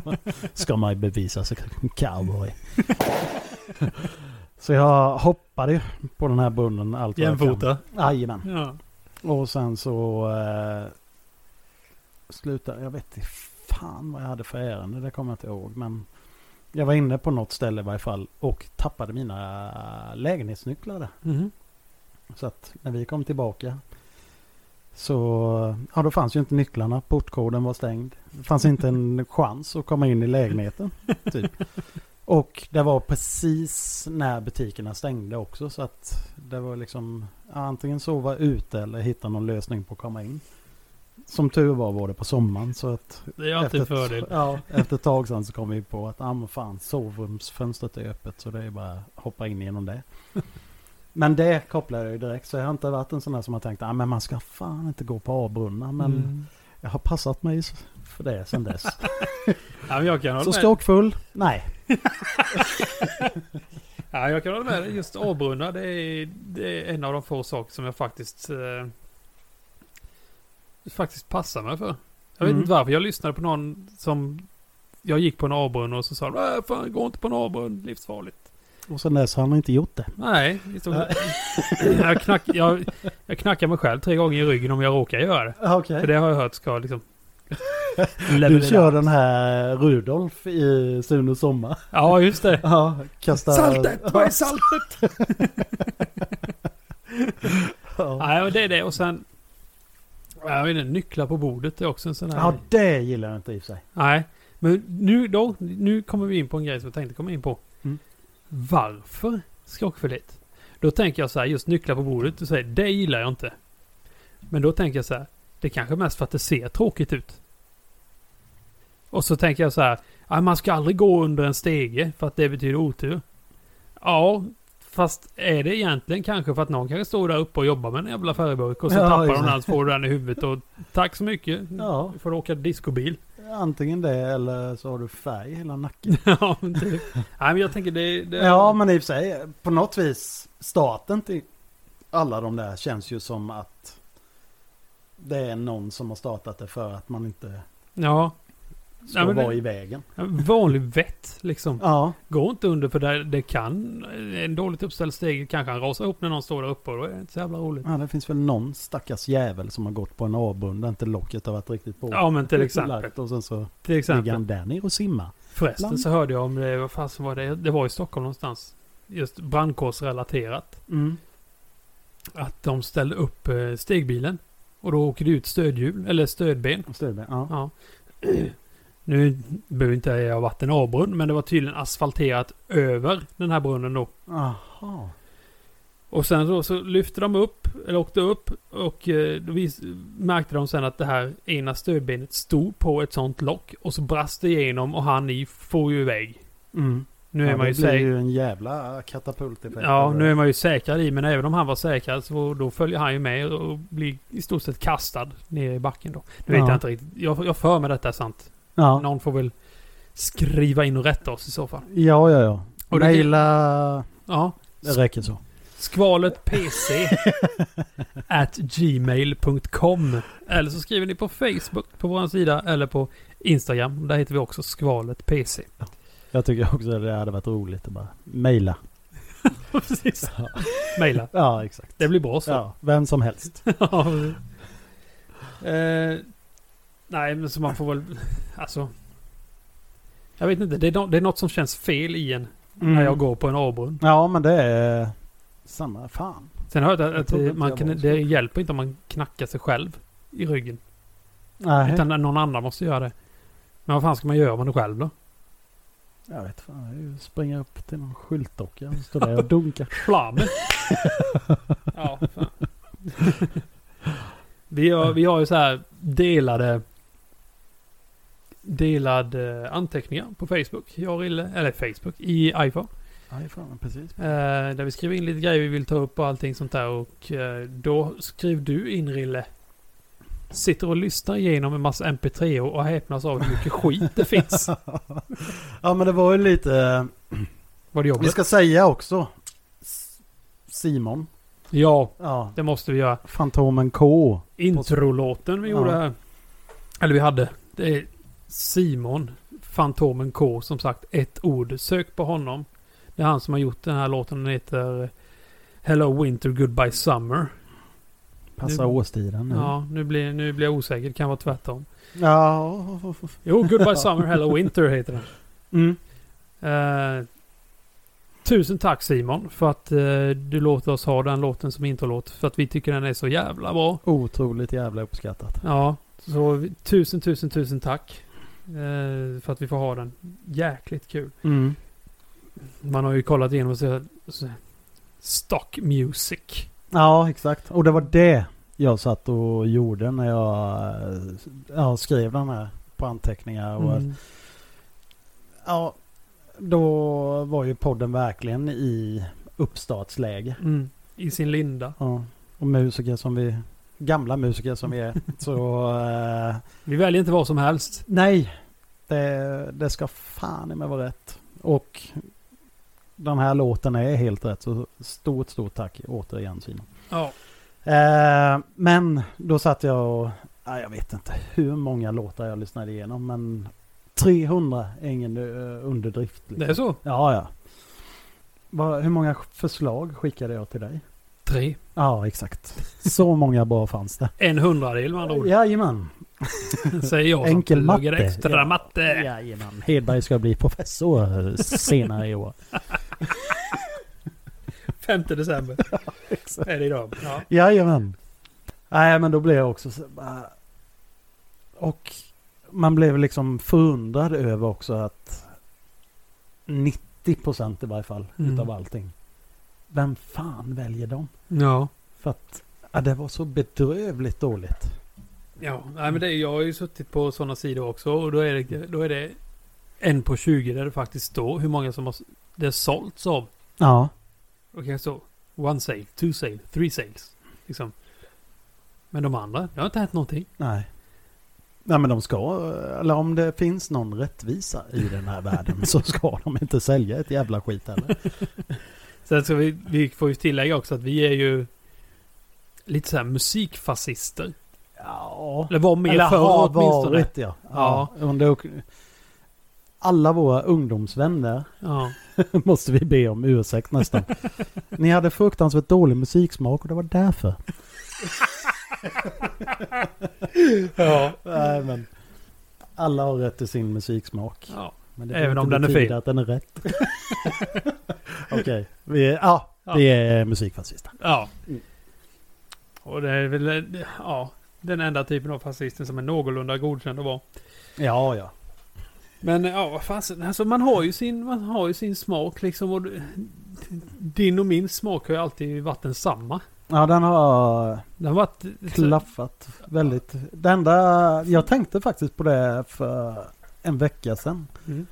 Speaker 1: ska man ju bevisa sig som cowboy. Så jag hoppade ju på den här brunnen allt vad jag kan.
Speaker 2: Jämfota.
Speaker 1: Jajamän.
Speaker 2: Ja.
Speaker 1: Och sen så eh, slutade, jag vet inte fan vad jag hade för ärende, det kommer jag inte ihåg. Men jag var inne på något ställe i varje fall och tappade mina lägenhetsnycklar där.
Speaker 2: Mhm.
Speaker 1: Så att när vi kom tillbaka så, ja då fanns ju inte nycklarna, portkoden var stängd. Det fanns inte en chans att komma in i lägenheten. Typ. Och det var precis när butikerna stängde också så att det var liksom ja, antingen sova ute eller hitta någon lösning på att komma in. Som tur var var det på sommaren så att
Speaker 2: Det är alltid en fördel.
Speaker 1: ett, ja, efter ett tag sen så kom vi på att ah, men fan, sovrumsfönstret är öppet så det är bara att hoppa in genom det. Men det kopplar jag ju direkt så jag har inte varit en sån där som har tänkt ah, men man ska fan inte gå på avbrunnar men
Speaker 2: Mm.
Speaker 1: jag har passat mig s- för det sen dess.
Speaker 2: Ja, men jag kan hålla
Speaker 1: så
Speaker 2: med.
Speaker 1: skrockfull? Nej.
Speaker 2: Ja, jag kan hålla med dig. Just avbrunnar, det är, det är en av de få saker som jag faktiskt eh, faktiskt passar mig för. Jag vet
Speaker 1: Mm.
Speaker 2: inte varför. Jag lyssnade på någon som... Jag gick på en avbrunn och så sa de "Äh, fan, gå inte på en avbrunn, livsfarligt.
Speaker 1: Och sen dess har han inte gjort det.
Speaker 2: Nej, i stort sett. jag, knack, jag, jag knackar mig själv tre gånger i ryggen om jag råkar göra det.
Speaker 1: Okej.
Speaker 2: För det har jag hört ska liksom...
Speaker 1: Du kör den här Rudolf i Sunes sommar.
Speaker 2: Ja, just det.
Speaker 1: Ja, kasta...
Speaker 2: Vad är saltet?
Speaker 1: Ja.
Speaker 2: Nej, men det är det. Och sen... Jag vet inte, nycklar på bordet är också en sån här...
Speaker 1: ja, det gillar jag inte i och för sig.
Speaker 2: Nej, men nu då, nu kommer vi in på en grej som jag tänkte komma in på.
Speaker 1: Mm.
Speaker 2: Varför skrockfylligt? Då tänker jag så här, just nycklar på bordet, du säger det gillar jag inte. Men då tänker jag så här, det kanske är mest för att det ser tråkigt ut. Och så tänker jag så här, "Ja, man ska aldrig gå under en stege för att det betyder otur. Ja, fast är det egentligen kanske för att någon kanske står där uppe och jobbar med en jävla färgburk och så
Speaker 1: Ja,
Speaker 2: tappar de
Speaker 1: just
Speaker 2: den
Speaker 1: det.
Speaker 2: och så får du den i huvudet och tack så mycket.
Speaker 1: Ja.
Speaker 2: Du får åka discobil.
Speaker 1: Antingen det eller så har du färg i hela nacken.
Speaker 2: ja, men typ. Nej, men jag tänker det... det
Speaker 1: Ja, men i och för sig, på något vis, staten till alla de där känns ju som att det är någon som har startat det för att man inte
Speaker 2: Ja.
Speaker 1: ska
Speaker 2: Nej, men
Speaker 1: vara
Speaker 2: det-
Speaker 1: i vägen.
Speaker 2: Vanlig vett, liksom.
Speaker 1: Ja,
Speaker 2: Gå inte under för det, det kan... En dåligt uppställd steg kanske han rasar ihop när någon står där uppe och då är det inte så jävla roligt.
Speaker 1: ja, det finns väl någon stackars jävel som har gått på en avgrund där inte locket har varit riktigt på.
Speaker 2: Ja, men till exempel.
Speaker 1: Och sen så
Speaker 2: Till
Speaker 1: ligger
Speaker 2: exempel.
Speaker 1: han där nere och simmar.
Speaker 2: Förresten
Speaker 1: Land.
Speaker 2: så hörde jag om det, vad fasen var det? Det var i Stockholm någonstans. Just brandkårsrelaterat. Att de ställde upp eh, stegbilen. Och då åker det ut stödhjul, eller stödben.
Speaker 1: Och stödben, Ja.
Speaker 2: Ja. Nu behöver inte jag ha varit en avbrunn, men det var tydligen asfalterat över den här brunnen då.
Speaker 1: Aha.
Speaker 2: Och sen då så lyfte de upp, eller åkte upp, och eh, då vis- märkte de sen att det här ena stödbenet stod på ett sånt lock. Och så brast det igenom och han i for ju iväg. Mm. Nu är
Speaker 1: ja,
Speaker 2: man ju
Speaker 1: det blir
Speaker 2: säker.
Speaker 1: ju en jävla katapult
Speaker 2: Ja, nu är man ju säkrad i, men även om han var säkrad så då följer han ju med och blir i stort sett kastad ner i backen då. Nu vet
Speaker 1: Ja.
Speaker 2: jag inte riktigt. Jag, jag för mig detta är sant.
Speaker 1: ja.
Speaker 2: Någon får väl skriva in och rätta oss i så fall.
Speaker 1: Ja, ja, ja.
Speaker 2: Och
Speaker 1: Och
Speaker 2: det-
Speaker 1: Maila...
Speaker 2: Ja.
Speaker 1: Det räcker så.
Speaker 2: Skvaletpc at gmail.com Eller så skriver ni på Facebook på vår sida eller på Instagram. Där heter vi också skvaletpc.
Speaker 1: Jag tycker också att det hade varit roligt att bara mejla.
Speaker 2: Precis. Maila.
Speaker 1: Ja, exakt.
Speaker 2: Det blir bra så.
Speaker 1: Ja, vem som helst.
Speaker 2: Ja. eh, nej, men så man får väl... Alltså... Jag vet inte. Det är, no- det är något som känns fel i en
Speaker 1: Mm.
Speaker 2: när jag går på en avbrunn.
Speaker 1: Ja, men det är samma. Fan.
Speaker 2: Sen har jag hört
Speaker 1: Jag
Speaker 2: att,
Speaker 1: trodde
Speaker 2: att
Speaker 1: inte
Speaker 2: man
Speaker 1: jag
Speaker 2: kan,
Speaker 1: var så.
Speaker 2: det hjälper inte om man knackar sig själv i ryggen.
Speaker 1: Nej.
Speaker 2: Utan någon annan måste göra det. Men vad fan ska man göra om man är själv då?
Speaker 1: Jag vet fan. Jag är ju springa upp till någon skyltdocka och stå där och dunka.
Speaker 2: Flam! ja, fan. vi, har, vi har ju så här delade... Delade anteckningar på Facebook. Jag och Rille, eller Facebook, i iPhone.
Speaker 1: Nej, fan. Precis.
Speaker 2: Eh, där vi skriver in lite grejer vi vill ta upp och allting sånt där. Och eh, då skrev du in Rille. Sitter och lyssnar igenom en massa MP3 och häpnas av hur mycket skit det finns.
Speaker 1: Ja, men det var ju lite...
Speaker 2: Var det
Speaker 1: Vi
Speaker 2: jobbigt?
Speaker 1: ska säga också. S- Simon.
Speaker 2: Ja,
Speaker 1: Ja.
Speaker 2: det måste vi göra.
Speaker 1: Fantomen K.
Speaker 2: Introlåten vi
Speaker 1: Ja.
Speaker 2: gjorde här. Eller vi hade. Det är Simon, Fantomen K, som sagt. Ett ord. Sök på honom. Det är han som har gjort den här låten. Den heter eh, Hello Winter Goodbye Summer.
Speaker 1: Passar
Speaker 2: Nu-
Speaker 1: årstiden nu. Ja.
Speaker 2: Ja, nu blir, nu blir jag osäker. Det kan vara tvärtom.
Speaker 1: ja.
Speaker 2: Jo, Goodbye Summer, Hello Winter heter den.
Speaker 1: Mm.
Speaker 2: Eh, tusen tack Simon för att eh, du låter oss ha den låten som introlåt. För att vi tycker den är så jävla bra.
Speaker 1: Otroligt jävla uppskattat.
Speaker 2: Ja, så vi- tusen, tusen, tusen tack. Eh, för att vi får ha den. Jäkligt kul.
Speaker 1: Mm.
Speaker 2: Man har ju kollat igenom och så, så, stock music.
Speaker 1: Ja, exakt. Och det var det jag satt och gjorde när jag eh, ja, skrev den här på anteckningar. Och,
Speaker 2: Mm.
Speaker 1: ja, då var ju podden verkligen i uppstartsläge.
Speaker 2: Mm. I sin linda.
Speaker 1: Ja. Och musiker som vi, gamla musiker som vi är. Så eh,
Speaker 2: Vi väljer inte vad som helst.
Speaker 1: nej, det, det ska fan i mig vara rätt. Och den här låten är helt rätt. Så stort, stort tack återigen Simon.
Speaker 2: Ja.
Speaker 1: Eh, men då satt jag och, ja, jag vet inte hur många låtar jag lyssnade igenom men 300 är ingen eh, underdrift.
Speaker 2: Det
Speaker 1: Liksom.
Speaker 2: är så.
Speaker 1: Ja, ja. Vad- hur många förslag skickade jag till dig?
Speaker 2: Tre.
Speaker 1: Ja, exakt. Så många bra fanns det.
Speaker 2: En hundradel med andra ord.
Speaker 1: Jajamän.
Speaker 2: Säger jag som
Speaker 1: Enkel
Speaker 2: pluggar
Speaker 1: matte.
Speaker 2: extra
Speaker 1: Ja.
Speaker 2: matte.
Speaker 1: Jajamän. Hedberg ska bli professor senare i år.
Speaker 2: 5 december. är det idag. Ja.
Speaker 1: Jajamän. Nej, men då blev jag också så bara- Och man blev liksom förundrad över också att 90% i varje fall
Speaker 2: Mm.
Speaker 1: utav allting. Vem fan väljer dem?
Speaker 2: Ja.
Speaker 1: För att ja, det var så bedrövligt dåligt.
Speaker 2: Ja, nej, men det, jag har ju suttit på sådana sidor också och då är, det, då är det en på 20 där det faktiskt står hur många som har, s- det sålts av.
Speaker 1: Ja.
Speaker 2: Och kanske så one sale, two sale, three sales. Liksom. Men de andra, det har inte hänt någonting.
Speaker 1: Nej. Nej men de ska, eller om det finns någon rättvisa i den här världen så ska de inte sälja ett jävla skit heller.
Speaker 2: Sen ska vi, vi får ju tillägga också att vi är ju lite så här musikfascister.
Speaker 1: Ja.
Speaker 2: Eller var mer
Speaker 1: Eller
Speaker 2: förr
Speaker 1: har
Speaker 2: åtminstone.
Speaker 1: varit ja. ja. Under, alla våra ungdomsvänner
Speaker 2: Ja.
Speaker 1: måste vi be om ursäkt nästan. Ni hade fruktansvärt dålig musiksmak och det var därför.
Speaker 2: ja.
Speaker 1: Nej, men alla har rätt till sin musiksmak.
Speaker 2: ja.
Speaker 1: Men det
Speaker 2: Även
Speaker 1: behöver
Speaker 2: om
Speaker 1: inte
Speaker 2: den är
Speaker 1: betyda
Speaker 2: fin.
Speaker 1: att den är rätt. Okej, vi är, ja, vi är musikfascister.
Speaker 2: Ja.
Speaker 1: Mm.
Speaker 2: Och det är väl eh, det- ja, den enda typen av fascisten som är någorlunda godkänd att vara.
Speaker 1: Ja, ja.
Speaker 2: Men eh, ja, vad fasen. Alltså man har ju sin, man har ju sin smak liksom. Och du- din och min smak har ju alltid varit densamma.
Speaker 1: Ja, den har
Speaker 2: Den har varit...
Speaker 1: klaffat väldigt. Det enda, jag tänkte faktiskt på det för en vecka sedan.
Speaker 2: Mm.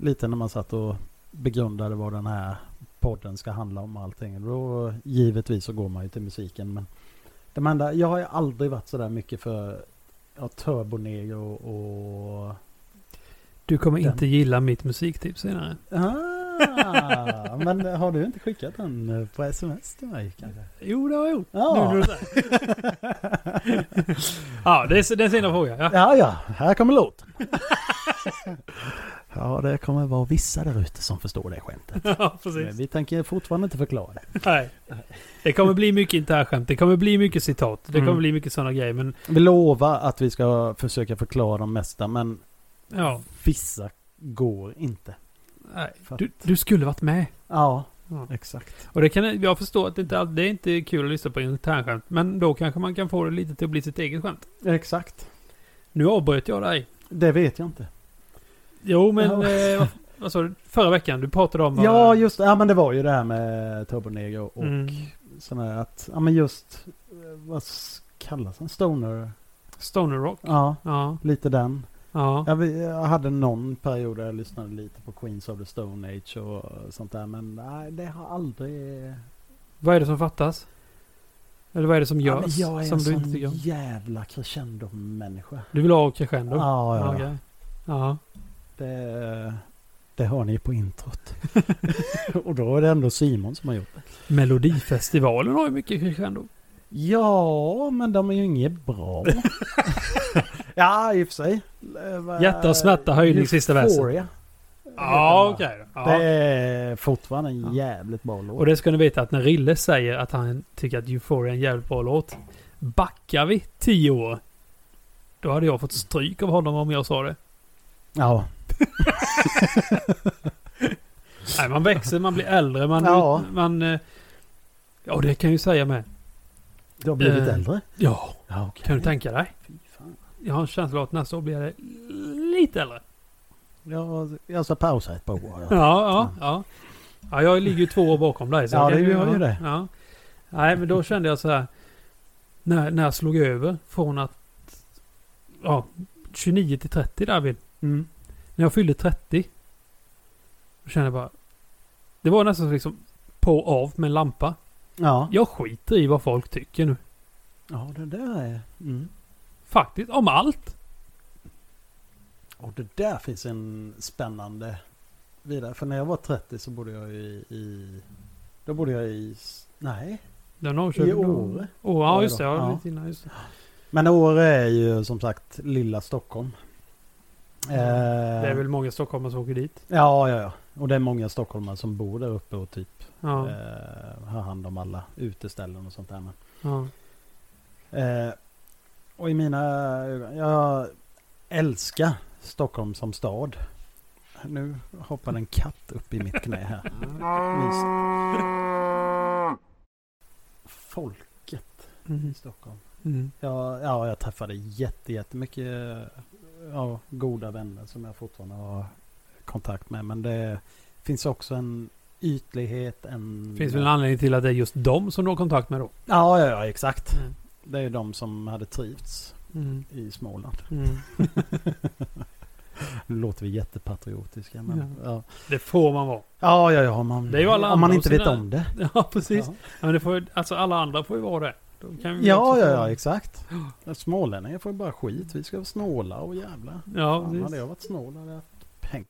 Speaker 1: lite när man satt och begrundade vad den här podden ska handla om och allting. Då givetvis så går man ju till musiken. Men de enda, jag har ju aldrig varit sådär mycket för ja, turbonegro och... och
Speaker 2: Du kommer
Speaker 1: Den.
Speaker 2: inte gilla mitt musiktips senare.
Speaker 1: ah, men har du inte skickat den eh, på sms till mig kanske?
Speaker 2: Jo, det har jag gjort.
Speaker 1: Ja.
Speaker 2: Nu när du säger. ja, det är, det är sina fråga. Ja.
Speaker 1: Ja, ja, här kommer låten. ja, det kommer vara vissa där ute som förstår det skämtet.
Speaker 2: ja,
Speaker 1: Men
Speaker 2: precis.
Speaker 1: vi tänker fortfarande inte förklara det.
Speaker 2: Nej. Det kommer bli mycket internskämt. Det kommer bli mycket citat. Det kommer
Speaker 1: Mm.
Speaker 2: bli mycket sådana grejer. Men
Speaker 1: Vi lovar att vi ska försöka förklara de mesta, men
Speaker 2: ja,
Speaker 1: Vissa går inte.
Speaker 2: nej.
Speaker 1: För att-
Speaker 2: Du, du skulle varit med.
Speaker 1: Ja,
Speaker 2: Ja.
Speaker 1: exakt.
Speaker 2: Och det kan, jag förstår att det inte, all- det är inte kul att lyssna på internskämt, men då kanske man kan få det lite till att bli sitt eget skämt.
Speaker 1: Exakt.
Speaker 2: Nu avbröt jag dig.
Speaker 1: Det vet jag inte.
Speaker 2: Jo, men
Speaker 1: Ja.
Speaker 2: eh, vad, vad sa du? Förra veckan, du pratade om... eh,
Speaker 1: Ja, just det. Ja, men det var ju det här med turbonegro och
Speaker 2: Mm.
Speaker 1: sådana här att, ja men just, eh, vad s- kallas den? Stoner?
Speaker 2: Stoner Rock.
Speaker 1: Ja,
Speaker 2: Ja,
Speaker 1: lite den.
Speaker 2: ja.
Speaker 1: Jag, vi- jag hade någon period där jag lyssnade lite på Queens of the Stone Age och sånt där, men nej, det har aldrig...
Speaker 2: Vad är det som fattas? Eller vad är det som
Speaker 1: Ja, men
Speaker 2: görs?
Speaker 1: jag är
Speaker 2: som
Speaker 1: en
Speaker 2: du
Speaker 1: sån
Speaker 2: inte tycker om?
Speaker 1: jävla crescendo-människa.
Speaker 2: Du vill ha crescendo?
Speaker 1: Ja, ja, ja.
Speaker 2: Okej. ja.
Speaker 1: Det, Det har ni på introt. och då är det ändå Simon som har gjort det.
Speaker 2: Melodifestivalen har ju mycket crescendo.
Speaker 1: Ja, men de är ju inget bra. ja, i och för sig. Eh, vad-
Speaker 2: Hjärta och smärta, höjning, sista versen.
Speaker 1: Euphoria.
Speaker 2: Ja,
Speaker 1: Heter den, va?
Speaker 2: okej då. ja.
Speaker 1: Det är fortfarande en jävligt bra låt.
Speaker 2: Och det ska ni veta att när Rille säger att han tycker att Euphoria är en jävligt bra låt. Backar vi tio år. Då hade jag fått stryk av honom om jag sa det.
Speaker 1: Ja,
Speaker 2: Nej, man växer, man blir äldre, man...
Speaker 1: Ja.
Speaker 2: man eh, ja, det kan jag ju säga med.
Speaker 1: du har blivit
Speaker 2: Eh,
Speaker 1: äldre.
Speaker 2: Ja,
Speaker 1: Ja, okej.
Speaker 2: kan du tänka dig?
Speaker 1: Fy fan.
Speaker 2: Jag har en känsla av att nästa år blir jag lite äldre.
Speaker 1: Jag, jag ska pausa ett par år.
Speaker 2: Ja, ja, ja. ja jag ligger ju två år bakom dig. så
Speaker 1: Ja,
Speaker 2: jag kan
Speaker 1: det gör ju det.
Speaker 2: Ja. Nej, men då kände jag så här. När, när jag slog över från att... Ja, 29 till 30 David.
Speaker 1: Mm.
Speaker 2: När jag fyllde 30. Då kände jag bara... Det var nästan som liksom på och av med en lampa.
Speaker 1: Ja.
Speaker 2: Jag skiter i vad folk tycker nu.
Speaker 1: ja, det där är... Mm.
Speaker 2: Faktiskt, om allt.
Speaker 1: Och det där finns en spännande vidare. För när jag var 30 så bodde jag i... i då bodde jag i... s- Nej,
Speaker 2: Den har
Speaker 1: i Åre.
Speaker 2: Åre, ja just det. Ja,
Speaker 1: Ja.
Speaker 2: lite innan, just det.
Speaker 1: Men Åre är ju som sagt lilla Stockholm. Eh,
Speaker 2: det är väl många stockholmare som åker dit.
Speaker 1: Ja, ja, ja. Och det är många stockholmare som bor där uppe och typ
Speaker 2: Ja,
Speaker 1: eh, har hand om alla uteställen och sånt där. Men,
Speaker 2: ja.
Speaker 1: eh, och i mina ögon, jag älskar Stockholm som stad. Nu hoppar en katt upp i mitt knä här. Mysigt. Folket i
Speaker 2: Mm.
Speaker 1: Stockholm.
Speaker 2: Mm.
Speaker 1: Ja, ja jag träffade jätte, jättemycket ja, goda vänner som jag fortfarande har kontakt med. Men det finns också en ytlighet. En...
Speaker 2: Finns väl en anledning till att det är just dem som du har kontakt med då?
Speaker 1: Ja, ja, ja, exakt.
Speaker 2: Mm.
Speaker 1: Det är ju de som hade trivts
Speaker 2: Mm.
Speaker 1: i Småland.
Speaker 2: Mm.
Speaker 1: Nu låter vi jättepatriotiska. Men, ja.
Speaker 2: Det får man vara.
Speaker 1: Ja. ja, ja, om man,
Speaker 2: Det är ju alla
Speaker 1: om man
Speaker 2: andra
Speaker 1: inte
Speaker 2: och
Speaker 1: vet
Speaker 2: sina-
Speaker 1: om det.
Speaker 2: Ja, precis.
Speaker 1: Ja,
Speaker 2: Men det får, ju- alltså alla andra får ju vara det. Då kan vi
Speaker 1: ja,
Speaker 2: också
Speaker 1: ja,
Speaker 2: få-
Speaker 1: ja, exakt. Smålänningar får ju bara skit. Vi ska vara snåla och jävla.
Speaker 2: Ja,
Speaker 1: Fan, hade
Speaker 2: precis.
Speaker 1: jag varit snål hade jag haft pengar.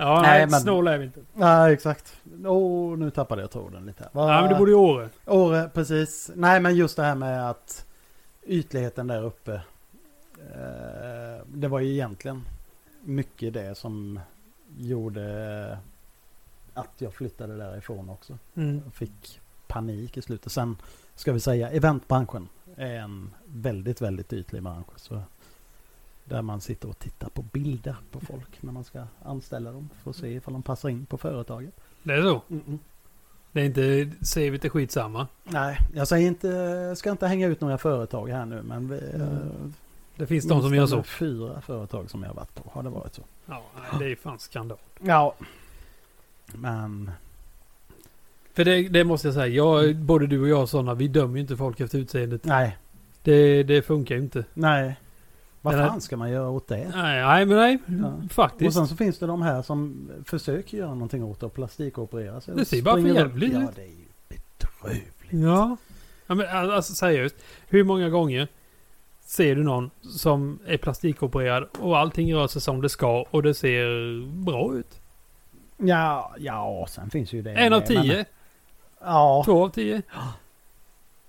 Speaker 2: Ja,
Speaker 1: Nej,
Speaker 2: nej,
Speaker 1: men-
Speaker 2: snåla är vi inte.
Speaker 1: Nej, exakt. Åh, nu tappade jag tråden lite. här. Va?
Speaker 2: Nej, men det borde ju Åre.
Speaker 1: Åre, precis. Nej, men just det här med att ytligheten där uppe. Eh, det var ju egentligen mycket det som gjorde eh, att jag flyttade därifrån också.
Speaker 2: Mm.
Speaker 1: Jag fick panik i slutet. Sen ska vi säga eventbranschen är en väldigt, väldigt ytlig bransch. Så där man sitter och tittar på bilder på folk när man ska anställa dem för att se ifall de passar in på företaget.
Speaker 2: Det är så. Det är inte, säger vi inte skitsamma.
Speaker 1: Nej, jag säger inte, jag ska inte hänga ut några företag här nu men vi,
Speaker 2: Mm.
Speaker 1: eh,
Speaker 2: Det finns de som gör så.
Speaker 1: fyra företag som jag har varit på. Har det varit så?
Speaker 2: Ja, nej, det är fan skandal.
Speaker 1: Ja. Men
Speaker 2: För det, det måste jag säga, jag, både du och jag sådana, vi dömer ju inte folk efter utseendet.
Speaker 1: nej,
Speaker 2: Det, det funkar ju inte.
Speaker 1: nej. Vad
Speaker 2: Eller-
Speaker 1: fan ska man göra åt det?
Speaker 2: Nej, nej men nej.
Speaker 1: Ja. Och
Speaker 2: Faktiskt.
Speaker 1: sen så finns det de här som försöker göra någonting åt det och plastikoperera sig.
Speaker 2: Det
Speaker 1: och
Speaker 2: ser bara för
Speaker 1: springer runt.
Speaker 2: jävligt
Speaker 1: Ja,
Speaker 2: ut.
Speaker 1: det är ju bedrövligt.
Speaker 2: Ja. ja men all- alltså seriöst. Hur många gånger ser du någon som är plastikopererad och allting rör sig som det ska och det ser bra ut?
Speaker 1: Ja, ja, sen finns ju det.
Speaker 2: en av
Speaker 1: med,
Speaker 2: tio?
Speaker 1: Eh, Men, ja,
Speaker 2: Två av tio?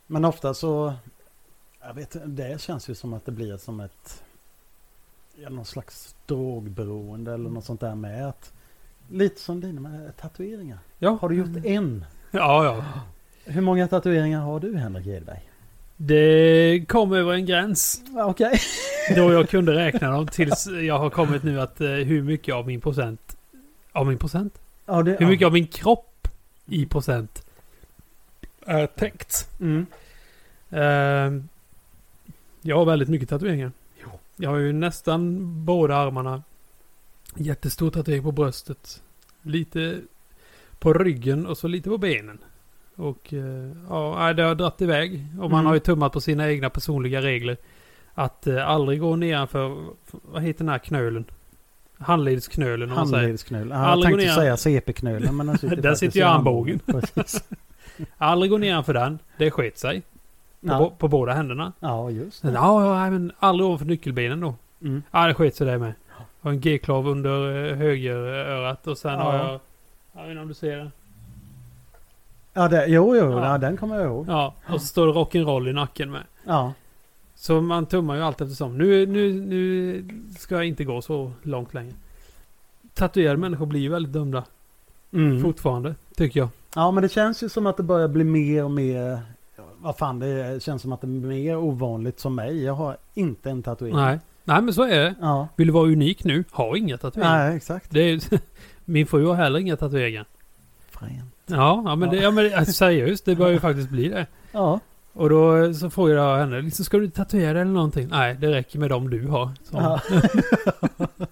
Speaker 1: men ofta så... Jag vet det känns ju som att det blir som ett... Ja, någon slags drogberoende eller något sånt där med. Att, lite som dina med tatueringar.
Speaker 2: Ja.
Speaker 1: Har du gjort en?
Speaker 2: Ja, ja.
Speaker 1: Hur många tatueringar har du, Henrik Edberg?
Speaker 2: Det kom över en gräns
Speaker 1: Ja, Okej.
Speaker 2: då jag kunde räkna dem tills jag har kommit nu att eh, hur mycket av min procent... Av min procent?
Speaker 1: Ja, det-
Speaker 2: Hur mycket av min kropp i procent är täckt?
Speaker 1: Mm.
Speaker 2: Ehm, jag har väldigt mycket tatueringar. Jag har ju nästan båda armarna. Jättestor tatuering på bröstet. Lite på ryggen och så lite på benen. Och eh, ja, nej, det har dratt iväg. Och man
Speaker 1: Mm.
Speaker 2: har ju tummat på sina egna personliga regler. Att eh, aldrig gå nedanför, vad heter den här knölen? Handledsknölen om man säger.
Speaker 1: Handledsknölen. Ja, jag
Speaker 2: Aldrig
Speaker 1: tänkte
Speaker 2: gå
Speaker 1: säga
Speaker 2: ner.
Speaker 1: CP-knölen men den sitter
Speaker 2: Där
Speaker 1: faktiskt
Speaker 2: sitter
Speaker 1: i
Speaker 2: ju
Speaker 1: armbågen. Precis.
Speaker 2: Aldrig gå nedanför den. Det sket sig. På, bo- på båda händerna.
Speaker 1: ja, just
Speaker 2: Sen,
Speaker 1: det.
Speaker 2: ja, ja, nej, men aldrig ovanför nyckelbenen då.
Speaker 1: Mm.
Speaker 2: Ja, det sket sig det med. Jag har en G-klav under eh, högerörat och sen
Speaker 1: Ja.
Speaker 2: har jag... Jag vet inte om du ser den.
Speaker 1: Ja, det, jo, jo,
Speaker 2: Ja.
Speaker 1: ja. den kommer jag ihåg.
Speaker 2: Ja, och så står det rock'n'roll i nacken med.
Speaker 1: Ja.
Speaker 2: Så man tummar ju allt eftersom. Nu, nu, nu ska jag inte gå så långt längre. Tatuerade människor blir ju väldigt dumma
Speaker 1: Mm.
Speaker 2: fortfarande, tycker jag.
Speaker 1: Ja, men det känns ju som att det börjar bli mer och mer... Vad fan, det känns som att det är mer ovanligt som mig. Jag har inte en tatuering.
Speaker 2: Nej. Nej, men så är det.
Speaker 1: Ja,
Speaker 2: Vill du vara unik nu? Ha inga tatueringar.
Speaker 1: Nej exakt.
Speaker 2: Det är, min fru har heller inga tatueringar.
Speaker 1: Fränt.
Speaker 2: Ja, ja men, det, ja, men alltså, seriöst, det börjar ju faktiskt bli det.
Speaker 1: Ja,
Speaker 2: Och då eh, så frågade jag henne, liksom, ska du tatuera dig eller någonting? Nej, det räcker med dem du har. Så.
Speaker 1: ja.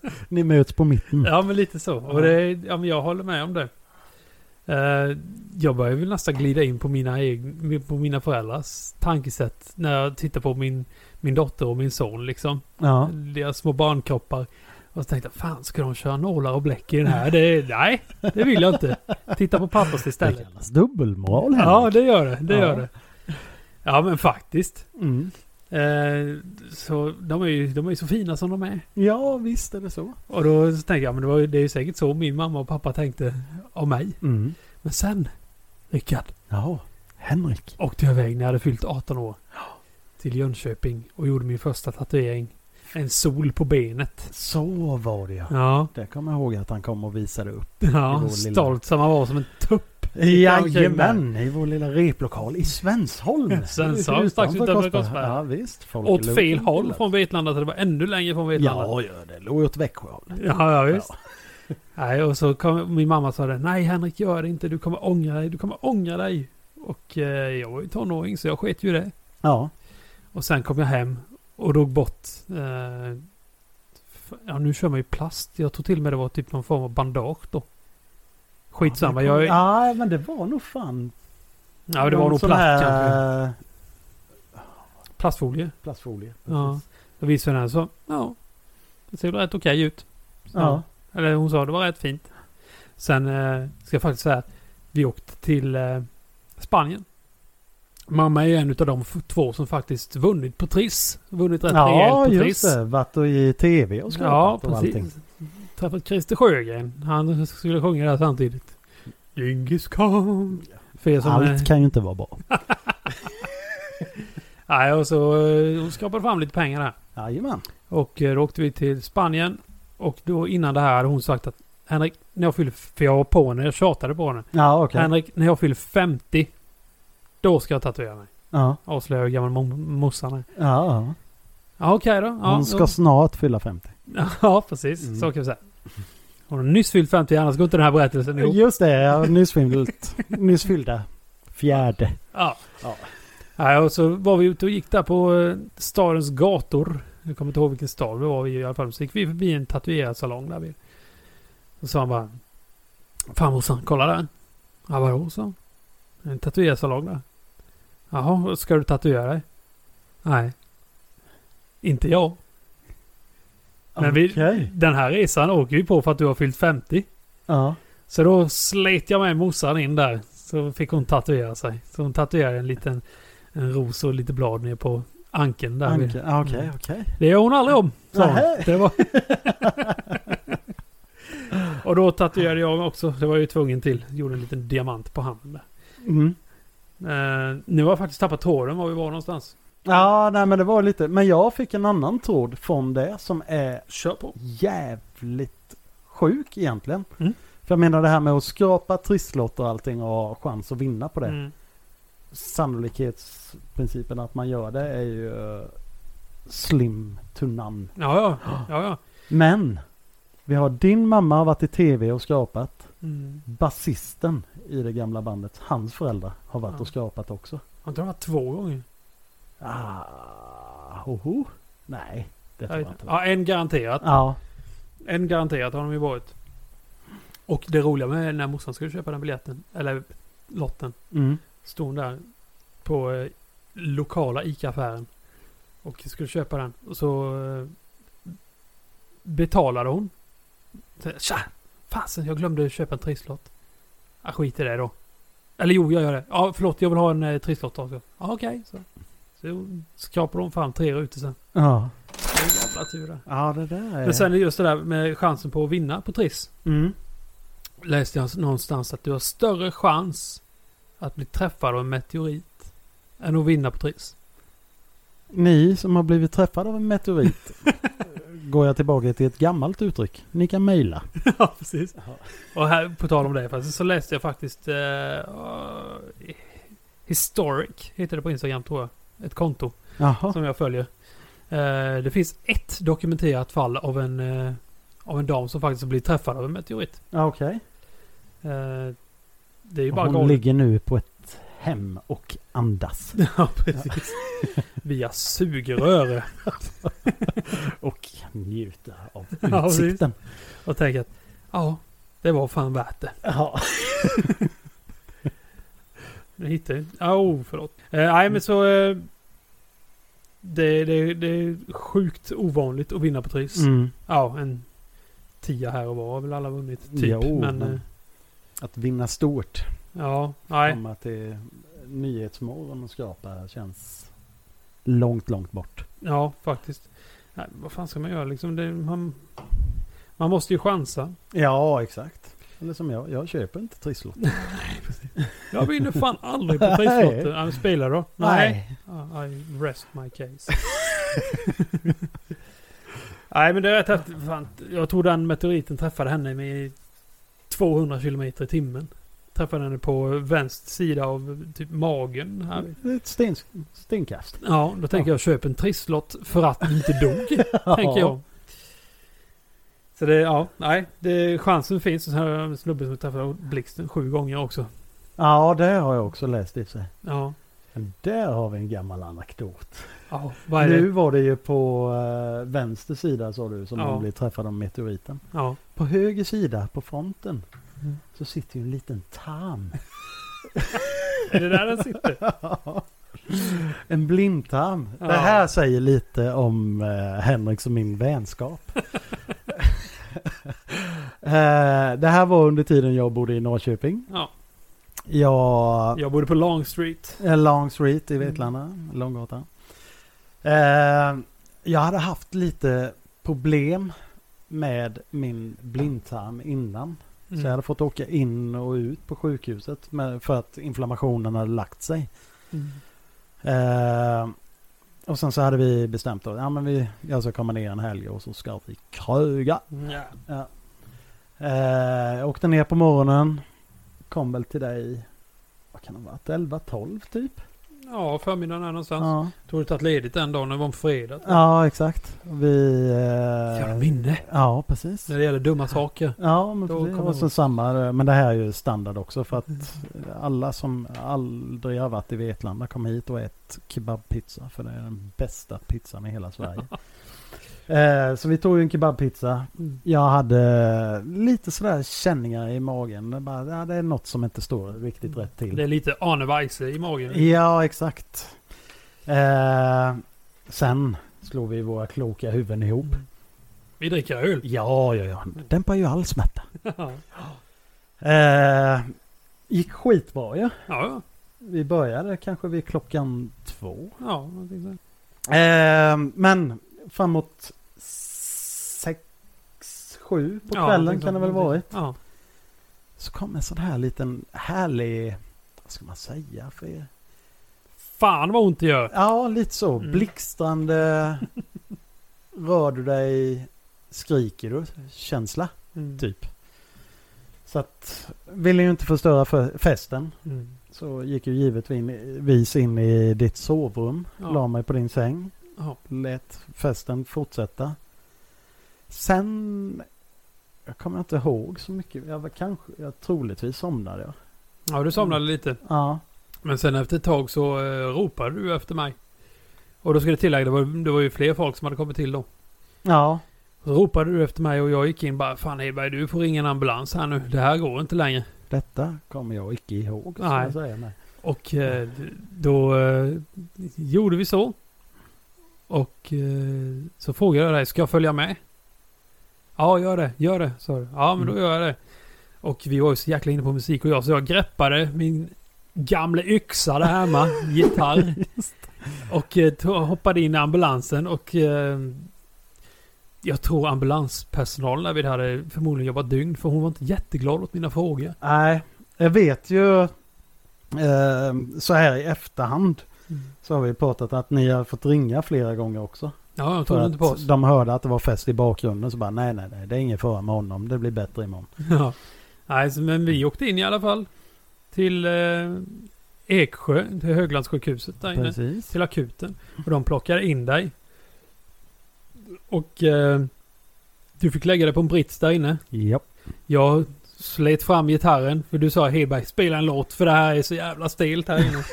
Speaker 1: Ni möts på mitten.
Speaker 2: Ja, men lite så. Och det, ja, men jag håller med om det. Eh, jag börjar väl nästan glida in på mina, egna, på mina föräldrars tankesätt när jag tittar på min, min dotter och min son. Liksom.
Speaker 1: Ja.
Speaker 2: Deras små barnkroppar. Och så tänkte jag, fan ska de köra nålar och bläck i den här? Det, nej, det vill jag inte. Titta på pappers
Speaker 1: Det
Speaker 2: istället.
Speaker 1: kallas dubbelmoral Henrik.
Speaker 2: Ja, det gör det. Det
Speaker 1: Ja.
Speaker 2: gör det. Ja, men faktiskt.
Speaker 1: Mm.
Speaker 2: Eh, så de är ju de är ju så fina som de är.
Speaker 1: ja, visst är det så.
Speaker 2: Och då så tänkte jag, men det, var, ju- det är ju säkert så min mamma och pappa tänkte om mig.
Speaker 1: Mm.
Speaker 2: Men sen, Rickard,
Speaker 1: Ja, Henrik.
Speaker 2: åkte jag iväg när jag hade fyllt 18 år. Till Jönköping och gjorde min första tatuering. En sol på benet.
Speaker 1: Så var det ja.
Speaker 2: Ja,
Speaker 1: Det kommer jag ihåg att han kom och visade upp. Det
Speaker 2: ja
Speaker 1: var
Speaker 2: stolt som man var som en tupp.
Speaker 1: Jajamän, i vår lilla replokal i Svensholm.
Speaker 2: Svensholm, strax utanför Korsberg.
Speaker 1: Ja, visst. Folk är
Speaker 2: Åt fel
Speaker 1: lugna.
Speaker 2: håll från Vetlanda, så det var ännu längre från Vetlanda.
Speaker 1: Ja, ja, det låg åt Växjöhållet.
Speaker 2: Ja, ja visst. Nej, och så kom min mamma sa det. Nej Henrik, gör det inte. Du kommer ångra dig. Du kommer ångra dig. Och eh, jag var ju tonåring så jag sket ju i det.
Speaker 1: Ja.
Speaker 2: Och sen kom jag hem och drog bort. Eh, f- ja, nu kör man ju plast. Jag tror till och med det var typ någon form av bandage då. Skitsamma.
Speaker 1: Ja,
Speaker 2: Jag, ja,
Speaker 1: Ja, men det var nog fan...
Speaker 2: det var
Speaker 1: någon
Speaker 2: nog
Speaker 1: sån
Speaker 2: plast kanske.
Speaker 1: här, eh,
Speaker 2: Plastfolie.
Speaker 1: Plastfolie. precis.
Speaker 2: Ja. Jag visade den här så. Ja, det ser väl rätt okej ut. Så.
Speaker 1: Ja.
Speaker 2: Eller hon sa det var rätt fint. Sen eh, ska jag faktiskt säga att vi åkte till eh, Spanien. Mamma är ju en av de f- två som faktiskt vunnit på Triss. Vunnit rätt
Speaker 1: Ja,
Speaker 2: rejält på
Speaker 1: just
Speaker 2: Triss.
Speaker 1: det. Vatt och i tv och
Speaker 2: Ja,
Speaker 1: skrapat och
Speaker 2: precis.
Speaker 1: allting.
Speaker 2: Träffat Christer Sjögren. Han skulle sjunga där samtidigt. Djingis khan. För er som... eh,
Speaker 1: Allt kan ju inte vara bra.
Speaker 2: Nej, och så eh, hon skrapade fram lite pengar där.
Speaker 1: Jajamän.
Speaker 2: Och eh, då åkte vi till Spanien. Och då innan det här hade hon sagt att Henrik, när jag fyller... För jag var på henne, jag tjatade på henne.
Speaker 1: Ja, okej.
Speaker 2: Henrik, när jag fyller 50, då ska jag tatuera mig.
Speaker 1: Ja,
Speaker 2: Avslöjar hur gammal mo- morsan är.
Speaker 1: ja, ja.
Speaker 2: Ja, okej då. Ja,
Speaker 1: Hon ska snart fylla 50.
Speaker 2: då. ja precis.
Speaker 1: Mm.
Speaker 2: Så kan vi säga. Hon har nyss fyllt 50, annars går inte den här berättelsen ihop.
Speaker 1: Just det, jag har nyss fyllt. nyss fyllda. Fjärde.
Speaker 2: Ja.
Speaker 1: Ja.
Speaker 2: ja. Och så var vi ute och gick där på eh, stadens gator. Jag kommer inte ihåg vilken stad det var vi i alla fall. Så gick vi förbi en tatuerad salong där vi. Så sa han bara. Fan morsan, kolla där. Ja, vadå? sa han. En tatuerad salong där. Jaha, ska du tatuera dig? Nej. Inte jag. Men vi-
Speaker 1: Okej.
Speaker 2: Den här resan åker vi på för att du har fyllt 50.
Speaker 1: Ja.
Speaker 2: Så då slet jag med morsan in där. Så fick hon tatuera sig. Så hon tatuerade en liten en ros och lite blad ner på ankeln där.
Speaker 1: Anke. Ja, Okej,
Speaker 2: Mm.
Speaker 1: okej.
Speaker 2: Det gör hon aldrig om, sa hon.
Speaker 1: Nähä.
Speaker 2: Det var... och då tatuerade jag mig också. Det var jag ju tvungen till. Gjorde en liten diamant på handen där.
Speaker 1: Mm.
Speaker 2: Eh, nu har jag faktiskt tappat tråden var vi var någonstans.
Speaker 1: Ja, nej men det var lite. Men jag fick en annan tråd från det som är
Speaker 2: Kör på.
Speaker 1: jävligt sjuk egentligen.
Speaker 2: Mm.
Speaker 1: För jag menar det här med att skrapa trisslotter och allting och ha chans att vinna på det.
Speaker 2: Mm.
Speaker 1: Sannolikhetsprincipen att man gör det är ju eh, slim to none.
Speaker 2: Ja, ja. ja, ja.
Speaker 1: Men vi har din mamma har varit i tv och skrapat.
Speaker 2: Mm.
Speaker 1: Basisten i det gamla bandet, hans föräldrar har varit
Speaker 2: Ja.
Speaker 1: och skrapat också.
Speaker 2: Har inte de varit två gånger?
Speaker 1: Ah, hoho. Nej, det tror jag inte.
Speaker 2: Ja, en garanterat.
Speaker 1: Ja,
Speaker 2: En garanterat har de ju varit. Och det roliga med när morsan skulle köpa den biljetten, eller lotten,
Speaker 1: mm.
Speaker 2: stod hon där på eh, lokala ICA-affären och skulle köpa den. Och så eh, betalade hon. Så, Tja! Fasen, jag glömde köpa en trisslott. Ah, skit i det då. Eller jo, jag gör det. Ja, förlåt, jag vill ha en eh, trisslott också. Ja, okej. så. Så skrapade de fram tre rutor sen.
Speaker 1: Ja.
Speaker 2: Det är jävla tur det.
Speaker 1: Ja, det där är...
Speaker 2: Men sen är just det där med chansen på att vinna på Triss.
Speaker 1: Mm.
Speaker 2: Läste jag någonstans att du har större chans att bli träffad av en meteorit än att vinna på Triss.
Speaker 1: Ni som har blivit träffade av en meteorit. går jag tillbaka till ett gammalt uttryck. Ni kan mejla.
Speaker 2: Ja, precis. Och här, på tal om det, faktiskt, så läste jag faktiskt eh, eh, Historic, heter det på Instagram tror jag. Ett konto
Speaker 1: Jaha.
Speaker 2: som jag följer. Eh, det finns ett dokumenterat fall av en, eh, av en dam som faktiskt blir träffad av en meteorit.
Speaker 1: Ja, Okej.
Speaker 2: Eh, det är ju
Speaker 1: Och
Speaker 2: bara
Speaker 1: Hon
Speaker 2: galet.
Speaker 1: ligger nu på ett hem och andas.
Speaker 2: Ja, precis. Via sugrör.
Speaker 1: Och njuter av
Speaker 2: Ja, precis.
Speaker 1: utsikten.
Speaker 2: Och tänker att ja, det var fan värt det.
Speaker 1: Ja.
Speaker 2: Nu hittar jag inte. Oh, förlåt. Eh, nej, men så... Eh, det, det, det är sjukt ovanligt att vinna på Triss.
Speaker 1: Mm.
Speaker 2: Ja, en tia här och var har väl alla vunnit. Typ.
Speaker 1: Jo,
Speaker 2: men,
Speaker 1: men-
Speaker 2: eh,
Speaker 1: Att vinna stort.
Speaker 2: ja, nej.
Speaker 1: Komma till Nyhetsmorgon och skrapa känns långt, långt bort.
Speaker 2: Ja, faktiskt. Nej, vad fan ska man göra liksom? Det, man, man måste ju chansa.
Speaker 1: Ja, exakt. Eller som jag, jag köper inte trisslotter.
Speaker 2: Jag vinner fan aldrig på Trisslotter. Nej, men Spela då. Ja, I rest my case. Nej, men det är rätt häftigt. Fan, Jag tror den meteoriten träffade henne med 200 kilometer i timmen. Träffade henne på vänster sida av typ magen. Här.
Speaker 1: Det är ett sten, stenkast.
Speaker 2: Ja, då tänker jag köp en trisslott för att ni inte dog. tänker jag. Så det, ja, nej. Det, chansen finns. Och sen har jag en snubbe som träffade blixten sju gånger också.
Speaker 1: Ja, det har jag också läst i sig.
Speaker 2: Ja.
Speaker 1: Men där har vi en gammal anekdot.
Speaker 2: ja vad är
Speaker 1: Nu
Speaker 2: det?
Speaker 1: var det ju på eh, vänster sida sa du som
Speaker 2: Ja.
Speaker 1: hon blev träffad av meteoriten.
Speaker 2: Ja.
Speaker 1: På höger sida på fronten
Speaker 2: Mm.
Speaker 1: så sitter ju en liten tarm.
Speaker 2: Är det där den sitter?
Speaker 1: en blindtarm.
Speaker 2: Ja.
Speaker 1: Det här säger lite om eh, Henrik och min vänskap. Eh, det här var under tiden jag bodde i Norrköping.
Speaker 2: Ja.
Speaker 1: Jag
Speaker 2: Jag bodde på Long Street.
Speaker 1: Eh, Long Street i
Speaker 2: Mm.
Speaker 1: Vetlanda, Långgatan. Eh, jag hade haft lite problem med min blindtarm innan.
Speaker 2: Mm.
Speaker 1: Så jag hade fått åka in och ut på sjukhuset med, för att inflammationen hade lagt sig.
Speaker 2: Mm.
Speaker 1: Eh, och sen så hade vi bestämt att ja, men vi, jag ska komma ner en helg och så ska vi kröga.
Speaker 2: Ja.
Speaker 1: Eh, jag åkte ner på morgonen, kom väl till dig, vad kan det ha varit, 11-12 typ?
Speaker 2: ja, förmiddagen här någonstans.
Speaker 1: Ja.
Speaker 2: Tog du tagit ledigt den dagen, det var en fredag.
Speaker 1: Ja, exakt. Vi... eh,
Speaker 2: Jävla minne.
Speaker 1: ja, precis.
Speaker 2: När det gäller dumma saker.
Speaker 1: Ja, men
Speaker 2: Då
Speaker 1: precis.
Speaker 2: kommer Mm.
Speaker 1: Och så
Speaker 2: jag-
Speaker 1: samma, eh, men det här är ju standard också för att alla som aldrig har varit i Vetlanda kommer hit och ät kebabpizza för det är den bästa pizzan i hela Sverige. eh, så vi tog ju en kebabpizza.
Speaker 2: Mm.
Speaker 1: Jag hade lite sådär känningar i magen. Det, bara, ja, det är något som inte står riktigt rätt till.
Speaker 2: Det är lite Arne Weise i magen.
Speaker 1: Ja, exakt. Eh, sen slog vi våra kloka huvuden ihop.
Speaker 2: Mm. Vi dricker öl.
Speaker 1: Ja, ja, ja. Dämpar ju all smärta.
Speaker 2: ja,
Speaker 1: Eh, gick skitbra ju. Ja.
Speaker 2: ja.
Speaker 1: Vi började kanske vid klockan två.
Speaker 2: ja någonting sånt.
Speaker 1: Eh, men framåt sex, sju på
Speaker 2: Ja,
Speaker 1: kvällen
Speaker 2: någonting
Speaker 1: kan det
Speaker 2: sånt,
Speaker 1: väl
Speaker 2: någonting.
Speaker 1: varit.
Speaker 2: Ja.
Speaker 1: Så kom en sån här liten härlig, vad ska man säga för er?
Speaker 2: Fan vad ont det gör.
Speaker 1: Ja, lite så.
Speaker 2: Mm.
Speaker 1: Blixtrande, rör du dig, skriker du, känsla
Speaker 2: Mm.
Speaker 1: typ. Så att, ville ju inte förstöra för festen.
Speaker 2: Mm.
Speaker 1: Så gick ju givetvis in i ditt sovrum,
Speaker 2: Ja.
Speaker 1: la mig på din säng,
Speaker 2: Ja.
Speaker 1: lät festen fortsätta. Sen, jag kommer inte ihåg så mycket, jag var kanske, jag troligtvis somnade jag.
Speaker 2: ja, du somnade
Speaker 1: Mm.
Speaker 2: lite.
Speaker 1: Ja,
Speaker 2: Men sen efter ett tag så eh, ropade du efter mig. Och då ska det tillägga, det var, det var ju fler folk som hade kommit till då.
Speaker 1: ja,
Speaker 2: Så ropade du efter mig och jag gick in bara, fan Hedberg du får ringa en ambulans här nu. Det här går inte längre.
Speaker 1: detta kommer jag icke ihåg. ska
Speaker 2: Nej.
Speaker 1: Jag säga nej.
Speaker 2: Och eh, då eh, gjorde vi så. Och eh, så frågade jag dig, ska jag följa med? Ja, gör det, gör det, sa du. Ja, men då
Speaker 1: Mm.
Speaker 2: gör jag det. Och vi var ju så jäkla inne på musik och jag, så jag greppade min gamla yxa där hemma, gitarr. Och eh, to- hoppade in i ambulansen och eh, jag tror ambulanspersonalen där vid det hade förmodligen jobbat dygn för hon var inte jätteglad åt mina frågor.
Speaker 1: Nej, jag vet ju eh, så här i efterhand så har vi pratat att ni har fått ringa flera gånger också.
Speaker 2: Ja, jag
Speaker 1: För
Speaker 2: trodde inte på
Speaker 1: att
Speaker 2: oss.
Speaker 1: de hörde att det var fest i bakgrunden så bara nej, nej, nej, det är ingen fara med honom, det blir bättre imorgon.
Speaker 2: Ja. Nej, så- men vi åkte in i alla fall till eh, Eksjö, till Höglandssjukhuset där inne.
Speaker 1: Precis.
Speaker 2: till akuten. Och de plockar in dig. Och eh, du fick lägga dig på en brits där inne.
Speaker 1: Japp.
Speaker 2: Jag slet fram gitarren. För du sa Hedberg, spela en låt för det här är så jävla stelt här inne.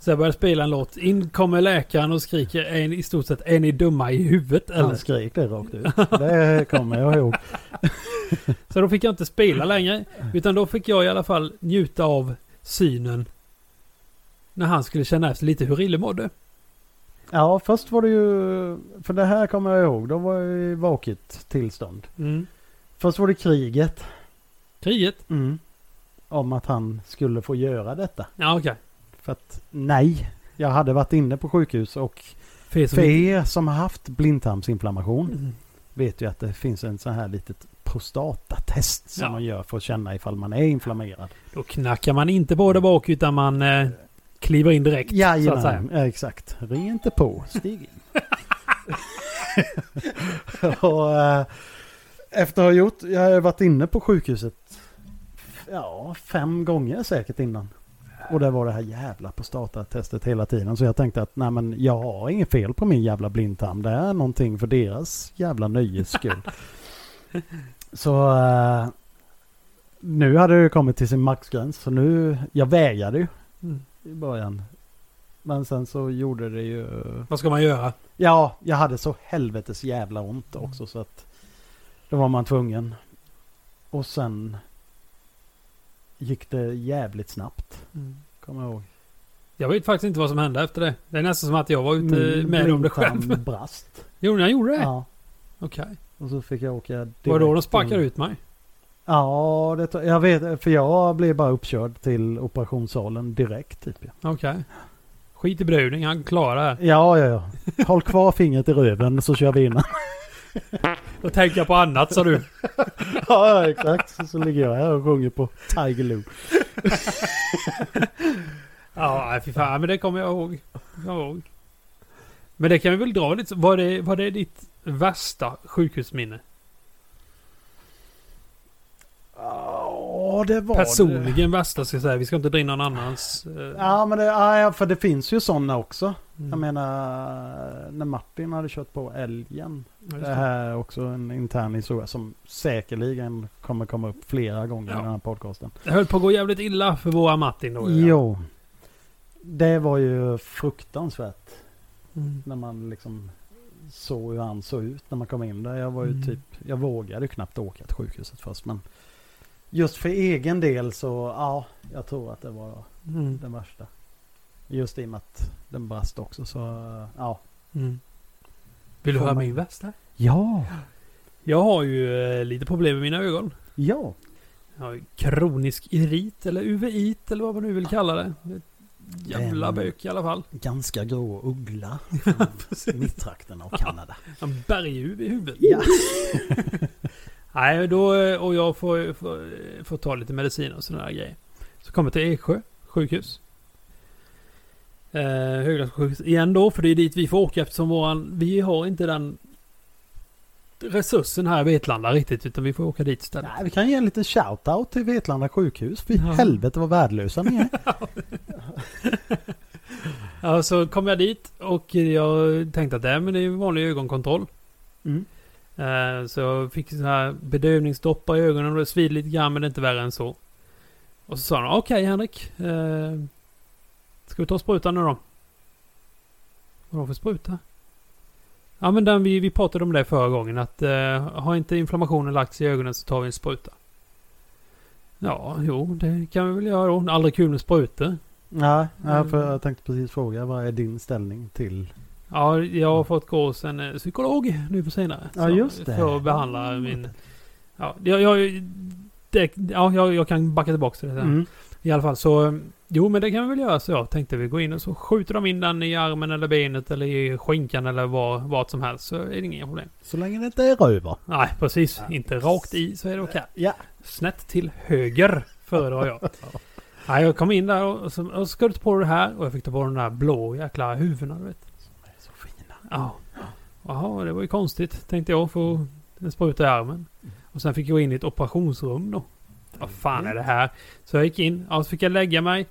Speaker 2: så jag började spela en låt. In kommer läkaren och skriker är ni, i stort sett är ni dumma i huvudet eller?
Speaker 1: Han skrek det rakt ut. Det kommer jag ihåg.
Speaker 2: Så då fick jag inte spela längre. Utan då fick jag i alla fall njuta av synen. När han skulle känna efter lite hur Rille mådde.
Speaker 1: Ja, först var det ju, för det här kommer jag ihåg, de var jag i vaket tillstånd. Först var det kriget mm,
Speaker 2: Kriget?
Speaker 1: om att han skulle få göra detta.
Speaker 2: Ja, okej.
Speaker 1: För att nej, jag hade varit inne på sjukhus och
Speaker 2: För er som
Speaker 1: för
Speaker 2: inte-
Speaker 1: er som har haft blindtarmsinflammation
Speaker 2: Mm.
Speaker 1: vet ju att det finns en sån här litet prostatatest som
Speaker 2: Ja.
Speaker 1: man gör för att känna ifall man är inflammerad.
Speaker 2: Då knackar man inte på där bak utan man eh, kliver in direkt. så att säga.
Speaker 1: Jajamän, ja, exakt. Ring inte på, stig in. och, eh, efter att ha gjort, jag har varit inne på sjukhuset ja, fem gånger säkert innan. Och det var det här jävla prostatatestet hela tiden. Så jag tänkte att nej men jag har inget fel på min jävla blindtarm. Det är någonting för deras jävla nöjes skull. så eh, nu hade det ju kommit till sin maxgräns. Så nu, jag vägrade ju
Speaker 2: Mm.
Speaker 1: i början. Men sen så gjorde det ju...
Speaker 2: Vad ska man göra?
Speaker 1: Ja, jag hade så helvetes jävla ont
Speaker 2: Mm.
Speaker 1: också så att då var man tvungen. Och sen gick det jävligt snabbt, kommer jag ihåg.
Speaker 2: Jag vet faktiskt inte vad som hände efter det. Det är nästan som att jag var ute
Speaker 1: Min
Speaker 2: med om det
Speaker 1: blindtarm
Speaker 2: själv.
Speaker 1: brast.
Speaker 2: Jo, jag gjorde det?
Speaker 1: Ja,
Speaker 2: Okej.
Speaker 1: och så fick jag åka direkt.
Speaker 2: Var det då de sparkade
Speaker 1: in.
Speaker 2: ut mig?
Speaker 1: Ja, det, tror- jag vet, för jag blev bara uppkörd till operationssalen direkt typ. Ja,
Speaker 2: Okej. Skit i bruding, han klarar det här.
Speaker 1: ja, ja. ja. Håll kvar fingret i röven så kör vi in.
Speaker 2: Då tänker jag på annat sa du.
Speaker 1: Ja, ja, exakt. Så, så ligger jag här och sjunger på Tiger Lou.
Speaker 2: Ja, nej, fy fan. Men det kommer jag ihåg. Jag kommer ihåg. Men det kan vi väl dra lite. Var det, var det ditt värsta sjukhusminne?
Speaker 1: Ja, det var det.
Speaker 2: Personligen värsta ska jag säga. Vi ska inte dra in någon annans. eh,
Speaker 1: Ja, men det, ja, för det finns ju sådana också.
Speaker 2: mm.
Speaker 1: Jag menar, när Martin hade kört på älgen.
Speaker 2: Ja, just
Speaker 1: Det här är också en intern historia som säkerligen kommer komma upp flera gånger
Speaker 2: Ja.
Speaker 1: i den här podcasten.
Speaker 2: Det höll på att gå jävligt illa för våra Martin då. ja.
Speaker 1: Jo. Det var ju fruktansvärt
Speaker 2: Mm.
Speaker 1: när man liksom såg hur han såg ut när man kom in där. Jag var ju
Speaker 2: Mm.
Speaker 1: typ, jag vågade ju knappt åka till sjukhuset först men just för egen del så, ja, jag tror att det var
Speaker 2: Mm.
Speaker 1: den värsta. Just i och med att den brast också så, ja.
Speaker 2: Mm. Vill du
Speaker 1: Får
Speaker 2: höra
Speaker 1: man-
Speaker 2: min värsta?
Speaker 1: Ja,
Speaker 2: Jag har ju eh, lite problem med mina ögon.
Speaker 1: ja.
Speaker 2: Jag har ju kronisk irit eller uveit eller vad man nu vill kalla det. Ett jävla
Speaker 1: Den-
Speaker 2: bök i alla fall.
Speaker 1: Ganska grå uggla från mittrakterna av Kanada.
Speaker 2: En berguv i huvudet.
Speaker 1: Ja.
Speaker 2: Nej, då, eh, och jag får, får, får ta lite medicin och sådana där grejer. Så kommer jag till Eksjö sjukhus. Eh, Höglandssjukhus igen då, för det är dit vi får åka eftersom våran, vi har inte den resursen här i Vetlanda riktigt, utan vi får åka dit istället.
Speaker 1: Nej, vi kan ge en liten shout-out till Vetlanda sjukhus. Fy
Speaker 2: Ja.
Speaker 1: helvete vad värdelösa ni är.
Speaker 2: Ja, så kom jag dit och jag tänkte att det, men det är ju vanlig ögonkontroll.
Speaker 1: Mm.
Speaker 2: Eh, Så jag fick så här bedövningsdoppar i ögonen och det svider lite grann men det är inte värre än så. Och så sa han okej Henrik. Eh, ska vi ta sprutan nu då? Vadå för spruta? Ja men den, vi, vi pratade om det förra gången att eh, har inte inflammationen lagt sig i ögonen så tar vi en spruta. Ja, jo det kan vi väl göra då. Aldrig kul med sprutor.
Speaker 1: Nej, ja, för jag tänkte precis fråga, vad är din ställning till?
Speaker 2: Ja, jag har fått gå hos en eh, psykolog nu på senare.
Speaker 1: Ja,
Speaker 2: Så- eh,
Speaker 1: just det. Mm.
Speaker 2: För att behandla min... Ja, jag, jag, det, ja jag, jag kan backa tillbaka till det sen.
Speaker 1: Mm.
Speaker 2: I alla fall så... Jo, men det kan vi väl göra så jag tänkte vi går in och så skjuter de in den i armen eller benet eller i skinkan eller vad, vad som helst så är det inga problem.
Speaker 1: Så länge det inte är röver.
Speaker 2: Nej, precis.
Speaker 1: Ja.
Speaker 2: Inte rakt i så är det okej.
Speaker 1: Ja.
Speaker 2: Snett till höger föredrar jag. Nej, jag kom in där och, och, så, och så ska du ta på dig det här och jag fick ta på de där blå jäkla huvudena du vet.
Speaker 1: De är så fina.
Speaker 2: Ja. Jaha, det var ju konstigt tänkte jag få en spruta i armen.
Speaker 1: Mm.
Speaker 2: Och sen fick jag gå in i ett operationsrum då. Vad fan är det här? Så jag gick in, ja, så fick jag lägga mig.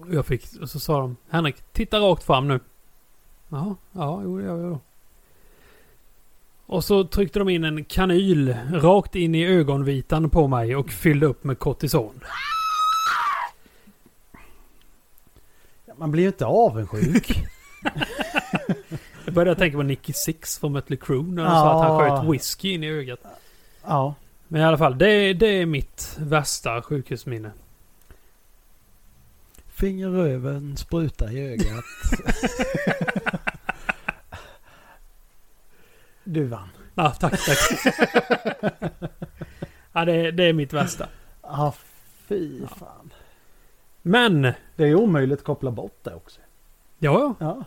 Speaker 2: Och Jag fick, och så sa de, Henrik, titta rakt fram nu. Jaha, ja, jo det gör jag då. Och så tryckte de in en kanyl rakt in i ögonvitan på mig och fyllde upp med kortison.
Speaker 1: Ja, Man blir ju inte avundsjuk.
Speaker 2: Jag började tänka på Nicky Six från Mötley Crüe när han
Speaker 1: Ja.
Speaker 2: sa att han sköt whisky in i ögat.
Speaker 1: ja.
Speaker 2: Men i alla fall, det, det är mitt värsta sjukhusminne.
Speaker 1: Finger över, en spruta i ögat. du vann.
Speaker 2: Ja, tack, tack. ja, det, det är mitt värsta.
Speaker 1: Ja, fy fan.
Speaker 2: Men, ja,
Speaker 1: Det är ju omöjligt att koppla bort det också.
Speaker 2: ja.
Speaker 1: Ja.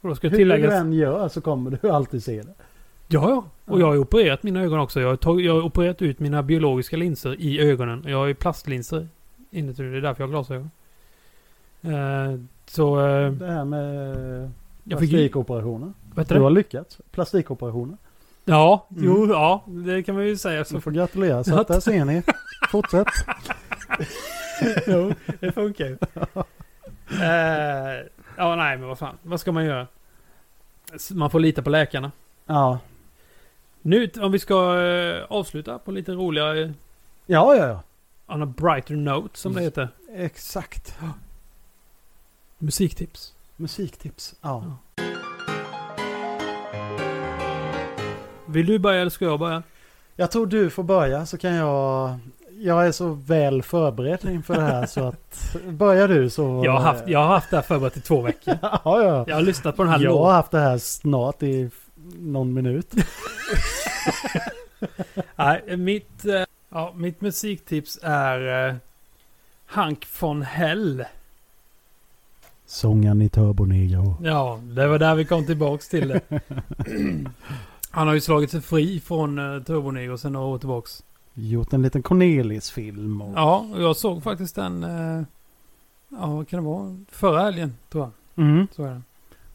Speaker 2: Och då ska
Speaker 1: Hur du
Speaker 2: tilläggas.
Speaker 1: än gör så kommer du alltid se det.
Speaker 2: Ja, ja. Och jag har ju opererat mina ögon också. Jag har, tag- jag har opererat ut mina biologiska linser i ögonen. Jag har ju plastlinser inuti. Det är därför jag har glasögon. Eh, så... Eh,
Speaker 1: Det här med
Speaker 2: jag fick ju...
Speaker 1: plastikoperationer.
Speaker 2: Vad heter
Speaker 1: Du
Speaker 2: det?
Speaker 1: har lyckats. Plastikoperationer.
Speaker 2: Ja,
Speaker 1: Mm.
Speaker 2: jo, ja. Det kan man ju säga.
Speaker 1: Så
Speaker 2: Så
Speaker 1: får gratulera. Så att där ser ni. Fortsätt.
Speaker 2: jo, det funkar ju. Eh, ja, nej, men vad fan. Vad ska man göra? S- Man får lita på läkarna.
Speaker 1: Ja.
Speaker 2: Nu, t- om vi ska eh, avsluta på lite roligare, eh,
Speaker 1: Ja, ja, ja.
Speaker 2: on a brighter note, som det heter.
Speaker 1: Exakt.
Speaker 2: Musiktips.
Speaker 1: Musiktips. Ja.
Speaker 2: Vill du börja eller ska jag börja?
Speaker 1: Jag tror du får börja så kan jag... Jag är så väl förberedd inför det här så att... Börjar du så...
Speaker 2: Jag har haft, jag har haft det här förberett i två veckor.
Speaker 1: ja, ja.
Speaker 2: Jag har lyssnat på den här
Speaker 1: jag har
Speaker 2: låten.
Speaker 1: haft det här snart i f- någon minut.
Speaker 2: Nej, mitt, eh, ja, mitt musiktips är eh, Hank von Hell.
Speaker 1: Sångaren i Turbo Negro.
Speaker 2: Ja, det var där vi kom tillbaks till det. Han har ju slagit sig fri från uh, Turbonegro sedan några år tillbaks.
Speaker 1: Gjort en liten Cornelis-film. Och...
Speaker 2: Ja, och jag såg faktiskt den, eh, ja vad kan det vara, förra helgen tror jag.
Speaker 1: Mm.
Speaker 2: Så är den.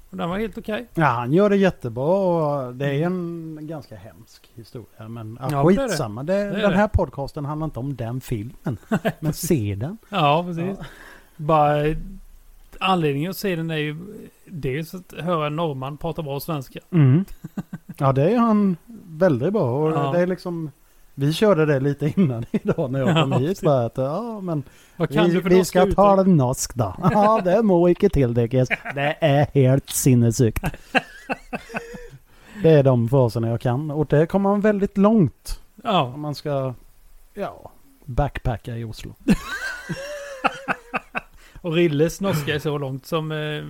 Speaker 2: Och den var helt okej.
Speaker 1: ja, han gör det jättebra och det är en ganska hemsk historia. Men ja,
Speaker 2: Ja, det är det.
Speaker 1: skitsamma. Det
Speaker 2: är
Speaker 1: den
Speaker 2: det.
Speaker 1: här podcasten handlar inte om den filmen. men se den.
Speaker 2: Ja, precis. Bara eh, anledningen att se den är ju dels att höra en norrman prata bra svenska.
Speaker 1: Mm. Ja, det är han väldigt bra. Och
Speaker 2: Ja.
Speaker 1: det är liksom, vi körde det lite innan idag när jag kom
Speaker 2: Ja,
Speaker 1: hit.
Speaker 2: precis.
Speaker 1: Bara att, ja, men
Speaker 2: Vad kan
Speaker 1: vi,
Speaker 2: du för
Speaker 1: vi
Speaker 2: norska
Speaker 1: ska
Speaker 2: uttryck?
Speaker 1: tala norsk då. Ja, det må icke tilläggas. Det är helt sinnessjukt. Det är de fraserna jag kan. Och det kommer man väldigt långt
Speaker 2: Ja,
Speaker 1: om man ska ja, backpacka i Oslo.
Speaker 2: och Rilles norska är så långt som eh,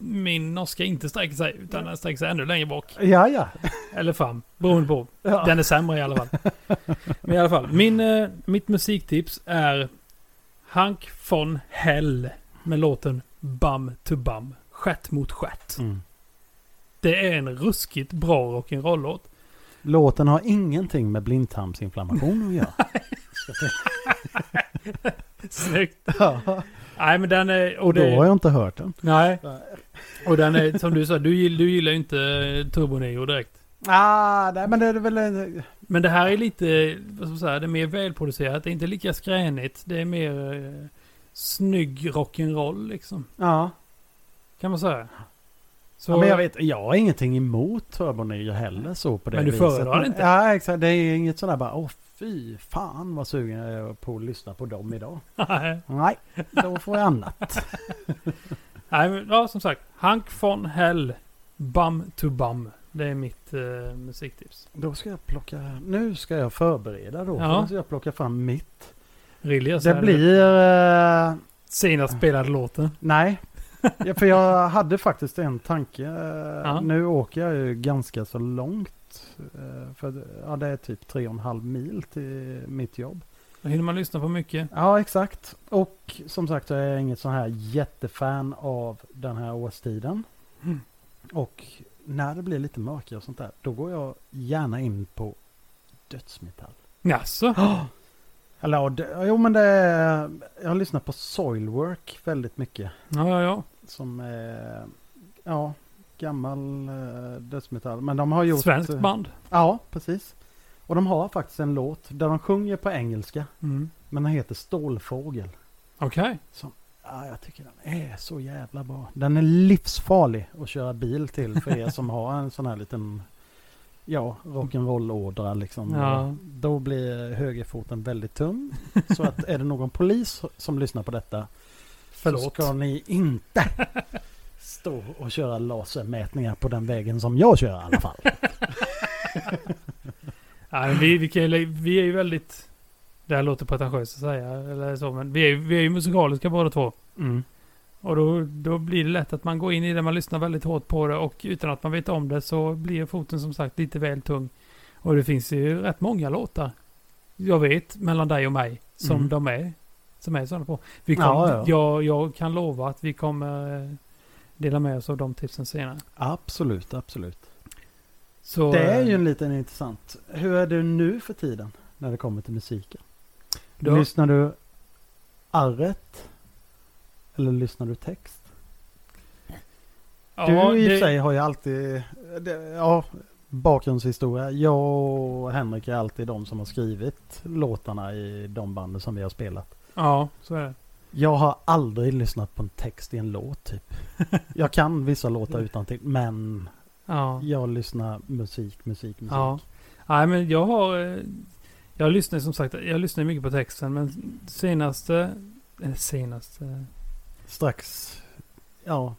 Speaker 2: min norska inte sträcker sig, utan den sträcker sig ännu längre bak.
Speaker 1: Ja, ja.
Speaker 2: Eller fram, beroende på.
Speaker 1: ja.
Speaker 2: Den är sämre i alla fall. Men i alla fall, min, eh, mitt musiktips är Hank von Hell med låten Bum to Bum. Stjärt mot stjärt.
Speaker 1: Mm.
Speaker 2: Det är en ruskigt bra rock'n'roll-låt.
Speaker 1: Låten har ingenting med blindtarmsinflammation att göra.
Speaker 2: Snyggt.
Speaker 1: Ja.
Speaker 2: Nej, men den är...
Speaker 1: Och
Speaker 2: Och
Speaker 1: då har
Speaker 2: det,
Speaker 1: jag inte hört den.
Speaker 2: nej. Och den är, som du sa, du, gill- du gillar ju inte eh, Turbo Negro direkt.
Speaker 1: Ah, nej, men det är väl...
Speaker 2: Men det här är lite, eh, vad ska man säga, det är mer välproducerat. Det är inte lika skränigt. Det är mer eh, snygg rock'n'roll liksom.
Speaker 1: Ja.
Speaker 2: Kan man säga. Så,
Speaker 1: ja, men jag vet, jag har ingenting emot turbonyer heller så på det
Speaker 2: Men du
Speaker 1: viset.
Speaker 2: föredrar
Speaker 1: Men-
Speaker 2: inte?
Speaker 1: Ja, exakt. Det är inget sådär bara, åh fy fan vad sugen jag är på att lyssna på dem idag.
Speaker 2: Nej,
Speaker 1: Nej, då får jag annat.
Speaker 2: Nej, men ja, som sagt. Hank von Hell, Bum to Bum. Det är mitt eh, musiktips.
Speaker 1: Då ska jag plocka, nu ska jag förbereda då.
Speaker 2: Ja.
Speaker 1: Ja. ska jag plocka fram mitt.
Speaker 2: Really, jag
Speaker 1: Det
Speaker 2: säger
Speaker 1: blir, eh,
Speaker 2: Senast spelade låten.
Speaker 1: nej. Ja, för jag hade faktiskt en tanke. eh,
Speaker 2: Ja.
Speaker 1: Nu åker jag ju ganska så långt. eh, För ja, det är typ tre och en halv mil till mitt jobb.
Speaker 2: Då hinner man lyssna på mycket.
Speaker 1: Ja, exakt. Och som sagt, jag är inget sån här jättefan av den här årstiden.
Speaker 2: Mm.
Speaker 1: Och när det blir lite mörkare och sånt där, då går jag gärna in på dödsmetall.
Speaker 2: Jaså?
Speaker 1: Eller, ja, dö- jo men det är, jag har lyssnat på Soilwork väldigt mycket.
Speaker 2: Ja, ja, ja.
Speaker 1: Som är, ja, gammal eh, dödsmetall. Men de har gjort...
Speaker 2: Svenskt band.
Speaker 1: Ja, precis. Och de har faktiskt en låt där de sjunger på engelska.
Speaker 2: Mm.
Speaker 1: Men den heter Stålfågel.
Speaker 2: Okej.
Speaker 1: Ja, jag tycker den är så jävla bra. Den är livsfarlig att köra bil till för er som har en sån här liten ja, rock'n'roll-ådra liksom.
Speaker 2: Ja.
Speaker 1: Då blir högerfoten väldigt tung. Så att är det någon polis som lyssnar på detta så
Speaker 2: Förlåt.
Speaker 1: ska ni inte stå och köra lasermätningar på den vägen som jag kör i alla fall.
Speaker 2: Nej, men vi, vi, kan, ju- vi är ju väldigt... Det här låter pretentiöst att säga, eller så, men vi är, vi är ju musikaliska båda två. Och då, då blir det lätt att man går in i det, man lyssnar väldigt hårt på det och utan att man vet om det så blir foten som sagt lite väl tung. Och det finns ju rätt många låtar, jag vet, mellan dig och mig, som
Speaker 1: Mm.
Speaker 2: de är. Som är sådana på. Vi kom,
Speaker 1: Ja, ja.
Speaker 2: Jag, jag kan lova att vi kommer eh, dela med oss av de tipsen senare.
Speaker 1: Absolut, absolut.
Speaker 2: Så,
Speaker 1: Det är
Speaker 2: eh,
Speaker 1: ju en liten intressant. Hur är du nu för tiden när det kommer till musiken?
Speaker 2: då-
Speaker 1: Lyssnar du arret? Eller lyssnar du text?
Speaker 2: ja,
Speaker 1: du i och för
Speaker 2: det-
Speaker 1: sig har ju alltid, det, ja, bakgrundshistoria. Jag och Henrik är alltid de som har skrivit låtarna i de banden som vi har spelat.
Speaker 2: Ja, så är det.
Speaker 1: Jag har aldrig lyssnat på en text i en låt typ. Jag kan vissa låtar utan till, men
Speaker 2: Ja.
Speaker 1: jag lyssnar musik, musik, musik.
Speaker 2: Ja. Nej, men jag har... eh, Jag lyssnar som sagt, jag lyssnar mycket på texten, men senaste... Eller senaste...
Speaker 1: Strax, ja,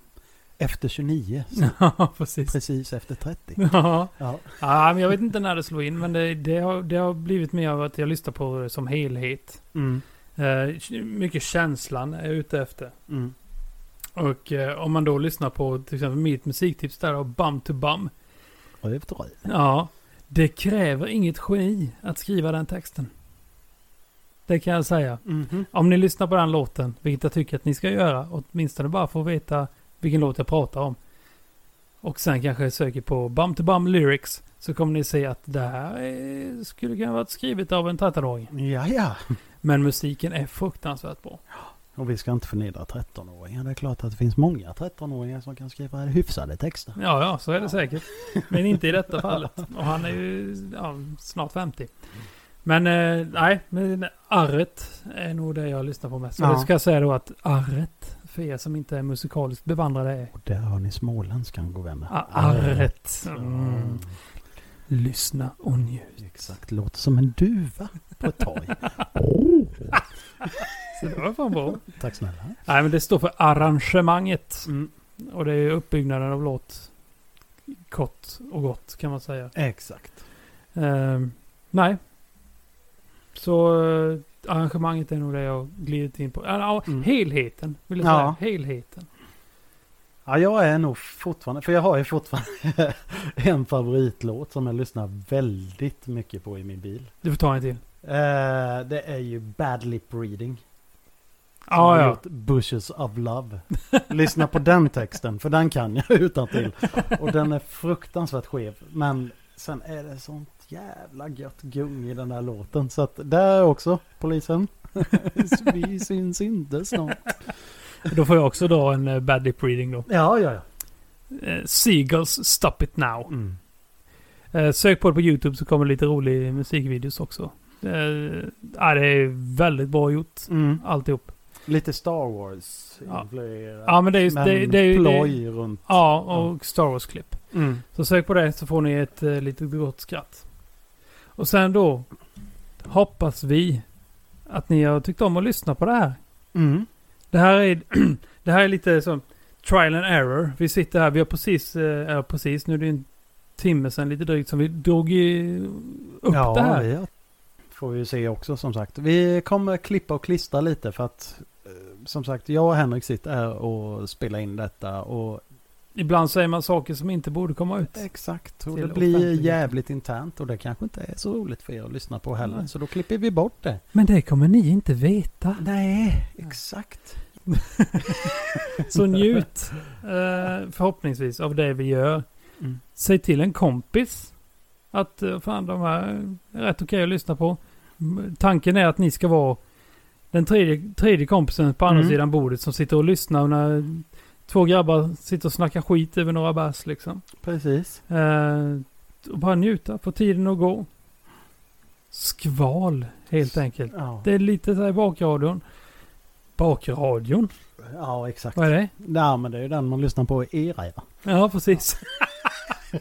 Speaker 1: efter 29.
Speaker 2: Ja, precis.
Speaker 1: Precis efter 30.
Speaker 2: Ja.
Speaker 1: Ja.
Speaker 2: ja, men jag vet inte när det slog in, men det, det, har, det har blivit mer av att jag lyssnar på det som helhet.
Speaker 1: Mm.
Speaker 2: Eh, mycket känslan är jag ute efter.
Speaker 1: Mm.
Speaker 2: Och eh, om man då lyssnar på till exempel mitt musiktips där av Bum to Bum.
Speaker 1: Och det förstår jag.
Speaker 2: Ja, det kräver inget geni att skriva den texten. Det kan jag säga.
Speaker 1: Mhm.
Speaker 2: Om ni lyssnar på den låten, vilket jag tycker att ni ska göra, åtminstone bara för att veta vilken låt jag pratar om. Och sen kanske söker på Bum to Bum Lyrics, så kommer ni se att det här är, skulle kunna varit skrivet av en 13-åring.
Speaker 1: Ja, ja.
Speaker 2: Men musiken är fruktansvärt bra.
Speaker 1: Och vi ska inte förnedra 13-åringar. Det är klart att det finns många 13-åringar som kan skriva hyfsade texter.
Speaker 2: Ja, ja, så är det säkert. Men inte i detta fallet. Och han är ju ja, snart 50. Men eh, nej, men arret är nog det jag lyssnar på mest. Och
Speaker 1: Ja.
Speaker 2: det ska jag säga då att arret, för er som inte är musikaliskt bevandrade, är
Speaker 1: Och där har ni småländskan, god vänner.
Speaker 2: A- Arret.
Speaker 1: Mm.
Speaker 2: Mm. Lyssna och njut.
Speaker 1: Exakt, låter som en duva på ett torg.
Speaker 2: Så det var fan bra.
Speaker 1: Tack snälla.
Speaker 2: Nej, men det står för arrangemanget.
Speaker 1: Mm.
Speaker 2: Och det är uppbyggnaden av låt. Kort och gott kan man säga.
Speaker 1: Exakt.
Speaker 2: Ehm, nej. Så eh, arrangemanget är nog det jag glidit in på. Ja, ja,
Speaker 1: Mm.
Speaker 2: helheten vill jag säga.
Speaker 1: Ja.
Speaker 2: Helheten.
Speaker 1: Ja, jag är nog fortfarande, för jag har ju fortfarande en favoritlåt som jag lyssnar väldigt mycket på i min bil.
Speaker 2: Du får ta en till.
Speaker 1: Eh, det är ju Bad Lip Reading. som
Speaker 2: Ja,
Speaker 1: har
Speaker 2: ja.
Speaker 1: gjort Bushes of Love. Lyssna på den texten, för den kan jag utan till. Och den är fruktansvärt skev. Men sen är det sånt jävla gött gung i den här låten. Så att där också, polisen. Vi syns inte snart.
Speaker 2: Då får jag också dra en eh, bad lip reading då.
Speaker 1: Ja, ja, ja.
Speaker 2: Eh, Seagulls Stop It Now.
Speaker 1: Mm.
Speaker 2: Eh, sök på det på YouTube så kommer det lite rolig musikvideos också. Eh, ja, det är väldigt bra gjort.
Speaker 1: Mm.
Speaker 2: Alltihop.
Speaker 1: Lite Star Wars
Speaker 2: Ja.
Speaker 1: influerat.
Speaker 2: Ja, men det är ju... Det, det är ju det,
Speaker 1: ploj runt.
Speaker 2: ja, och Star Wars-klipp.
Speaker 1: Mm.
Speaker 2: Så sök på det så får ni ett eh, litet gott skratt. Och sen då hoppas vi att ni har tyckt om att lyssna på det här.
Speaker 1: Mm.
Speaker 2: Det här är, det här är lite som trial and error. Vi sitter här, vi har precis, eh, ja, precis nu är det ju en timme sedan lite drygt som vi drog i, upp
Speaker 1: ja,
Speaker 2: det här.
Speaker 1: Ja, får vi ju se också som sagt. Vi kommer klippa och klistra lite för att eh, som sagt, jag och Henrik sitter här och spelar in detta och
Speaker 2: Ibland säger man saker som inte borde komma ut.
Speaker 1: Exakt, och
Speaker 2: Till
Speaker 1: det blir
Speaker 2: offentligheten.
Speaker 1: jävligt internt och det kanske inte är så roligt för er att lyssna på heller.
Speaker 2: Nej.
Speaker 1: Så då klipper vi bort det.
Speaker 2: Men det kommer ni inte veta.
Speaker 1: Nej, exakt.
Speaker 2: Så njut eh, förhoppningsvis av det vi gör.
Speaker 1: Mm.
Speaker 2: Säg till en kompis att eh, fan de här är rätt okej att lyssna på. M- Tanken är att ni ska vara den tredje, tredje kompisen på andra
Speaker 1: Mm.
Speaker 2: sidan bordet som sitter och lyssnar när två grabbar sitter och snackar skit över några bärs liksom.
Speaker 1: Precis.
Speaker 2: Eh, och bara njuta, få tiden att gå. Skval helt enkelt.
Speaker 1: Ja,
Speaker 2: Det är lite så här i bakradion. Bakradion?
Speaker 1: ja exakt.
Speaker 2: Vad är det?
Speaker 1: Ja, men det är ju den man lyssnar på i era. Ja.
Speaker 2: Ja, precis. ja,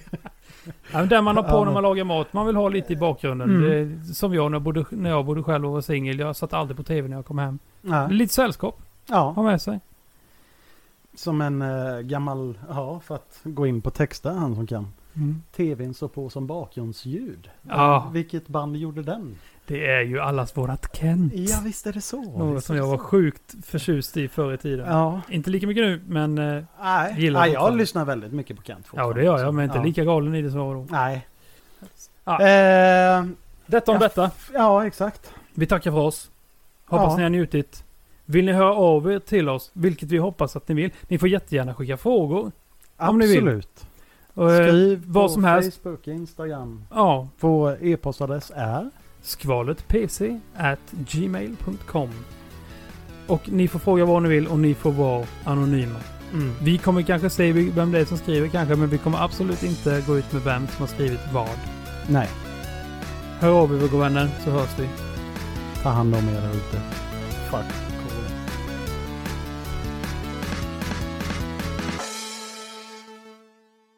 Speaker 2: men den man har på
Speaker 1: Ja,
Speaker 2: när
Speaker 1: men-
Speaker 2: man lagar mat. Man vill ha lite i bakgrunden.
Speaker 1: Mm.
Speaker 2: Det, är som jag när jag, bodde, när jag bodde själv och var singel. Jag satt alltid på tv när jag kom hem.
Speaker 1: Ja.
Speaker 2: Lite sällskap
Speaker 1: ja,
Speaker 2: ha med sig.
Speaker 1: som en eh, gammal, ja, för att gå in på texter, han som kan.
Speaker 2: Mm.
Speaker 1: TVn så på som bakgrundsljud.
Speaker 2: Ja.
Speaker 1: Vilket band gjorde den?
Speaker 2: Det är ju allas vårat Kent.
Speaker 1: Ja, visst är det så.
Speaker 2: Något
Speaker 1: Visst
Speaker 2: som
Speaker 1: är
Speaker 2: jag
Speaker 1: det
Speaker 2: var
Speaker 1: så.
Speaker 2: sjukt förtjust i förr i tiden.
Speaker 1: Ja.
Speaker 2: Inte lika mycket nu, men eh,
Speaker 1: Nej,
Speaker 2: Gillar
Speaker 1: Nej jag
Speaker 2: fortfarande.
Speaker 1: lyssnar väldigt mycket på Kent
Speaker 2: ja,
Speaker 1: fortfarande.
Speaker 2: det gör jag. Men inte
Speaker 1: Ja.
Speaker 2: lika galen i det som jag var då.
Speaker 1: Nej.
Speaker 2: Ja.
Speaker 1: Eh,
Speaker 2: Detta om
Speaker 1: Ja.
Speaker 2: detta.
Speaker 1: ja, exakt.
Speaker 2: Vi tackar för oss. Hoppas
Speaker 1: Ja.
Speaker 2: ni har njutit. Vill ni höra av er till oss, vilket vi hoppas att ni vill. Ni får jättegärna skicka frågor. Om ni vill.
Speaker 1: Absolut.
Speaker 2: Och, eh,
Speaker 1: Skriv
Speaker 2: vad
Speaker 1: på
Speaker 2: som helst.
Speaker 1: Facebook, Instagram.
Speaker 2: Ja,
Speaker 1: Vår e-postadress är
Speaker 2: skvaletpc at gmail.com. Och ni får fråga vad ni vill och ni får vara anonyma.
Speaker 1: Mm.
Speaker 2: Vi kommer kanske säga vem det är som skriver kanske, men vi kommer absolut inte gå ut med vem som har skrivit vad.
Speaker 1: Nej,
Speaker 2: Hör av er, våra vänner, så hörs vi.
Speaker 1: ta hand om er där ute. Fuck.